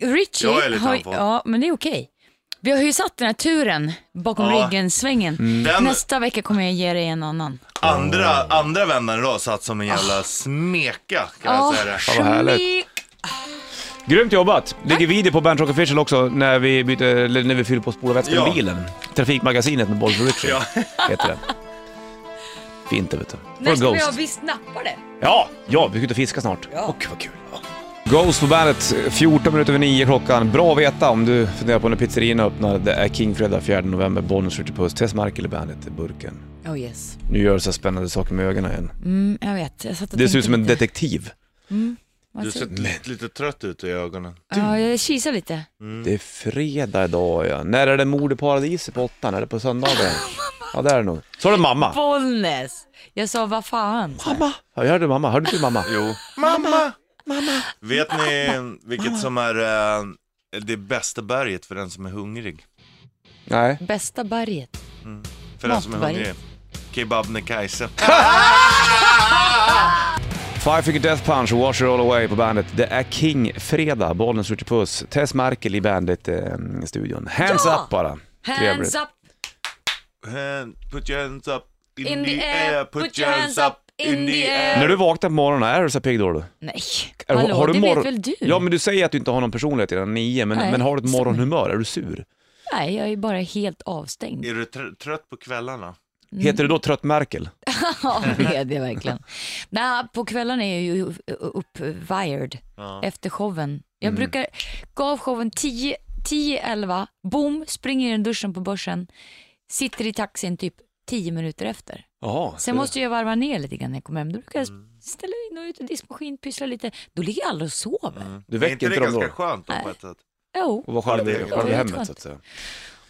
[SPEAKER 2] Richie
[SPEAKER 3] Jag är lite
[SPEAKER 2] har,
[SPEAKER 3] andfådd.
[SPEAKER 2] Ja, men det är okej. Vi har ju satt den här turen bakom
[SPEAKER 3] Ja.
[SPEAKER 2] ryggen-svängen.
[SPEAKER 1] Mm.
[SPEAKER 3] Den-
[SPEAKER 2] Nästa vecka kommer jag ge dig en annan.
[SPEAKER 3] Andra, andra vännen idag satt som en jävla smeka, kan jag säga det.
[SPEAKER 1] vad härligt. Grymt jobbat! Ligger video på Bandrock Official också när vi, byter, eller när vi fyller på spolarvätskan i
[SPEAKER 3] Ja.
[SPEAKER 1] bilen. Trafikmagasinet med Bolls och Richie
[SPEAKER 3] Ja.
[SPEAKER 1] (laughs) heter det. Fint det vet du. Var
[SPEAKER 2] När
[SPEAKER 1] det
[SPEAKER 2] ska vi ha
[SPEAKER 1] Ghost?
[SPEAKER 2] Vi snappar det.
[SPEAKER 1] Ja, ja, vi ska ut och fiska snart. Och vad kul. Ghost på bandet, 14 minuter över 9 klockan. Bra att veta om du funderar på när pizzerierna öppnar. Det är Kingfredag 4 november, Bonus Ritchie Puss, Tess Merkel i bandet, i burken.
[SPEAKER 2] Oh yes.
[SPEAKER 1] Nu gör du så här spännande saker med ögonen igen.
[SPEAKER 2] Mm, jag vet. Jag satt och
[SPEAKER 1] Det ser
[SPEAKER 2] tänkte
[SPEAKER 1] ut som en
[SPEAKER 2] lite.
[SPEAKER 1] detektiv.
[SPEAKER 2] Vad
[SPEAKER 3] Du
[SPEAKER 2] ser-
[SPEAKER 3] ser lite trött ut i ögonen.
[SPEAKER 2] Ja, jag kisar lite.
[SPEAKER 1] Mm. Det är fredag idag ja. När är det mord i paradiset på åttan? Är det på
[SPEAKER 2] (laughs)
[SPEAKER 1] söndagen? ja det är det nog. Så är det mamma.
[SPEAKER 2] Bollnäs! Jag sa vad fan.
[SPEAKER 1] Mamma! Ja, jag hörde mamma, hörde du mamma?
[SPEAKER 3] Jo. Mamma! Mamma! Vet ni vilket som är eh, det bästa berget för den som är hungrig?
[SPEAKER 1] Nej.
[SPEAKER 2] Bästa berget.
[SPEAKER 3] För den som är
[SPEAKER 2] Matberget.
[SPEAKER 3] hungrig. Kebabnekaise.
[SPEAKER 1] Five Finger Death Punch, Wash It All Away på bandet. Det är King Fredag, Bollnäs Ritchie Puss, Tess Merkel i Bandit-studion. Hands
[SPEAKER 2] Ja!
[SPEAKER 1] up bara.
[SPEAKER 2] Hands
[SPEAKER 1] Trevligt.
[SPEAKER 2] up
[SPEAKER 3] Hand- Put your hands up in,
[SPEAKER 2] in the air, put your hands up in the air.
[SPEAKER 1] När du vaknar på morgonen, är du så pigg då? du?
[SPEAKER 2] Nej,
[SPEAKER 1] Är du-
[SPEAKER 2] hallå, det
[SPEAKER 1] morgon-
[SPEAKER 2] vet väl du?
[SPEAKER 1] Ja, men du säger att du inte har någon personlighet innan nio, men,
[SPEAKER 2] Nej.
[SPEAKER 1] men har du ett morgonhumör? Är du sur?
[SPEAKER 2] Nej, jag är bara helt avstängd.
[SPEAKER 3] Är du tr- trött på kvällarna?
[SPEAKER 2] Mm.
[SPEAKER 1] Heter du då Trött Merkel?
[SPEAKER 2] Ja, (laughs) det är det verkligen. Nej, på kvällarna är jag ju uppwired efter showen. Jag
[SPEAKER 1] Mm.
[SPEAKER 2] brukar, gav showen 10, 10, 11, boom, springer in i duschen på börsen, sitter i taxin typ 10 minuter efter.
[SPEAKER 1] Jaha.
[SPEAKER 2] Sen måste jag varva ner lite grann när jag kommer hem. Då brukar jag
[SPEAKER 1] Mm.
[SPEAKER 2] ställa in och ut i diskmaskin, pyssla lite. Då ligger alla och sover.
[SPEAKER 1] Du
[SPEAKER 3] Mm. Är
[SPEAKER 1] väcker
[SPEAKER 3] inte det
[SPEAKER 1] inte dem då?
[SPEAKER 3] ganska skönt då på ett sätt?
[SPEAKER 2] Jo,
[SPEAKER 1] Och var själv i
[SPEAKER 3] Ja, det
[SPEAKER 1] själv i
[SPEAKER 2] är
[SPEAKER 1] hemmet
[SPEAKER 2] skönt.
[SPEAKER 1] så att säga.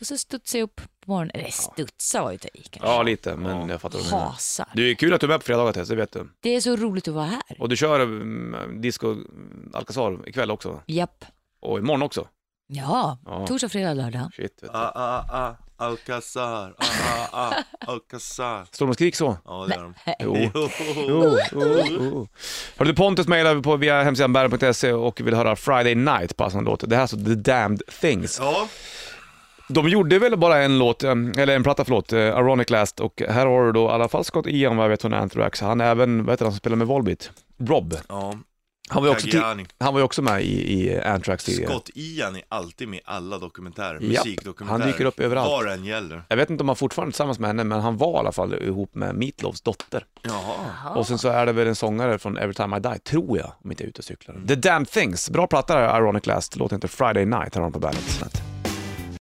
[SPEAKER 2] och så studsar jag upp på morgonen. Eller studsa var ju att i kanske.
[SPEAKER 1] Ja, lite, men jag fattar vad du menar.
[SPEAKER 2] Hasar.
[SPEAKER 1] Det är kul att du är med på fredagar Tess, det vet du.
[SPEAKER 2] Det är så roligt att vara här.
[SPEAKER 1] Och du kör mm, disco mm, Alcazar ikväll också.
[SPEAKER 2] Japp.
[SPEAKER 1] Och imorgon också.
[SPEAKER 2] Ja,
[SPEAKER 1] Ja.
[SPEAKER 2] torsdag, fredag, lördag.
[SPEAKER 1] Shit, vet du.
[SPEAKER 3] Ah, ah, ah, Alcazar, ah, ah, ah, Alcazar.
[SPEAKER 1] Står de och skriker så?
[SPEAKER 3] Ja, det gör de.
[SPEAKER 1] Jo.
[SPEAKER 3] (laughs) Jo.
[SPEAKER 1] Jo, jo, jo. Har du Pontus mejlar på via hemsidan bärare.se och vill höra Friday Night passande låt. Det här är alltså The Damned Things.
[SPEAKER 3] Ja,
[SPEAKER 1] De gjorde väl bara en låt, eh, eller en platta förlåt, eh, Ironic Last och här har du då i alla fall Scott Ian vad jag vet från Anthrax. Han är även, vad heter han som spelar med Volbeat? Rob.
[SPEAKER 3] ja.
[SPEAKER 1] Han var ju också, ti-
[SPEAKER 3] Tagiani.
[SPEAKER 1] han var ju också med i, i Anthrax tidigare.
[SPEAKER 3] Scott Ian är alltid med i alla dokumentärer,
[SPEAKER 1] Japp,
[SPEAKER 3] musikdokumentärer.
[SPEAKER 1] han dyker upp överallt.
[SPEAKER 3] Vad den gäller.
[SPEAKER 1] Jag vet inte om han fortfarande är tillsammans med henne, men han var i alla fall ihop med Meatloafs dotter.
[SPEAKER 3] Jaha.
[SPEAKER 1] Och sen så är det väl en sångare från Every Time I Die, tror jag, om inte jag är ute och cyklar. The Damn Things, bra platta där, Ironic Last, låten heter Friday Night, här har de på bandet.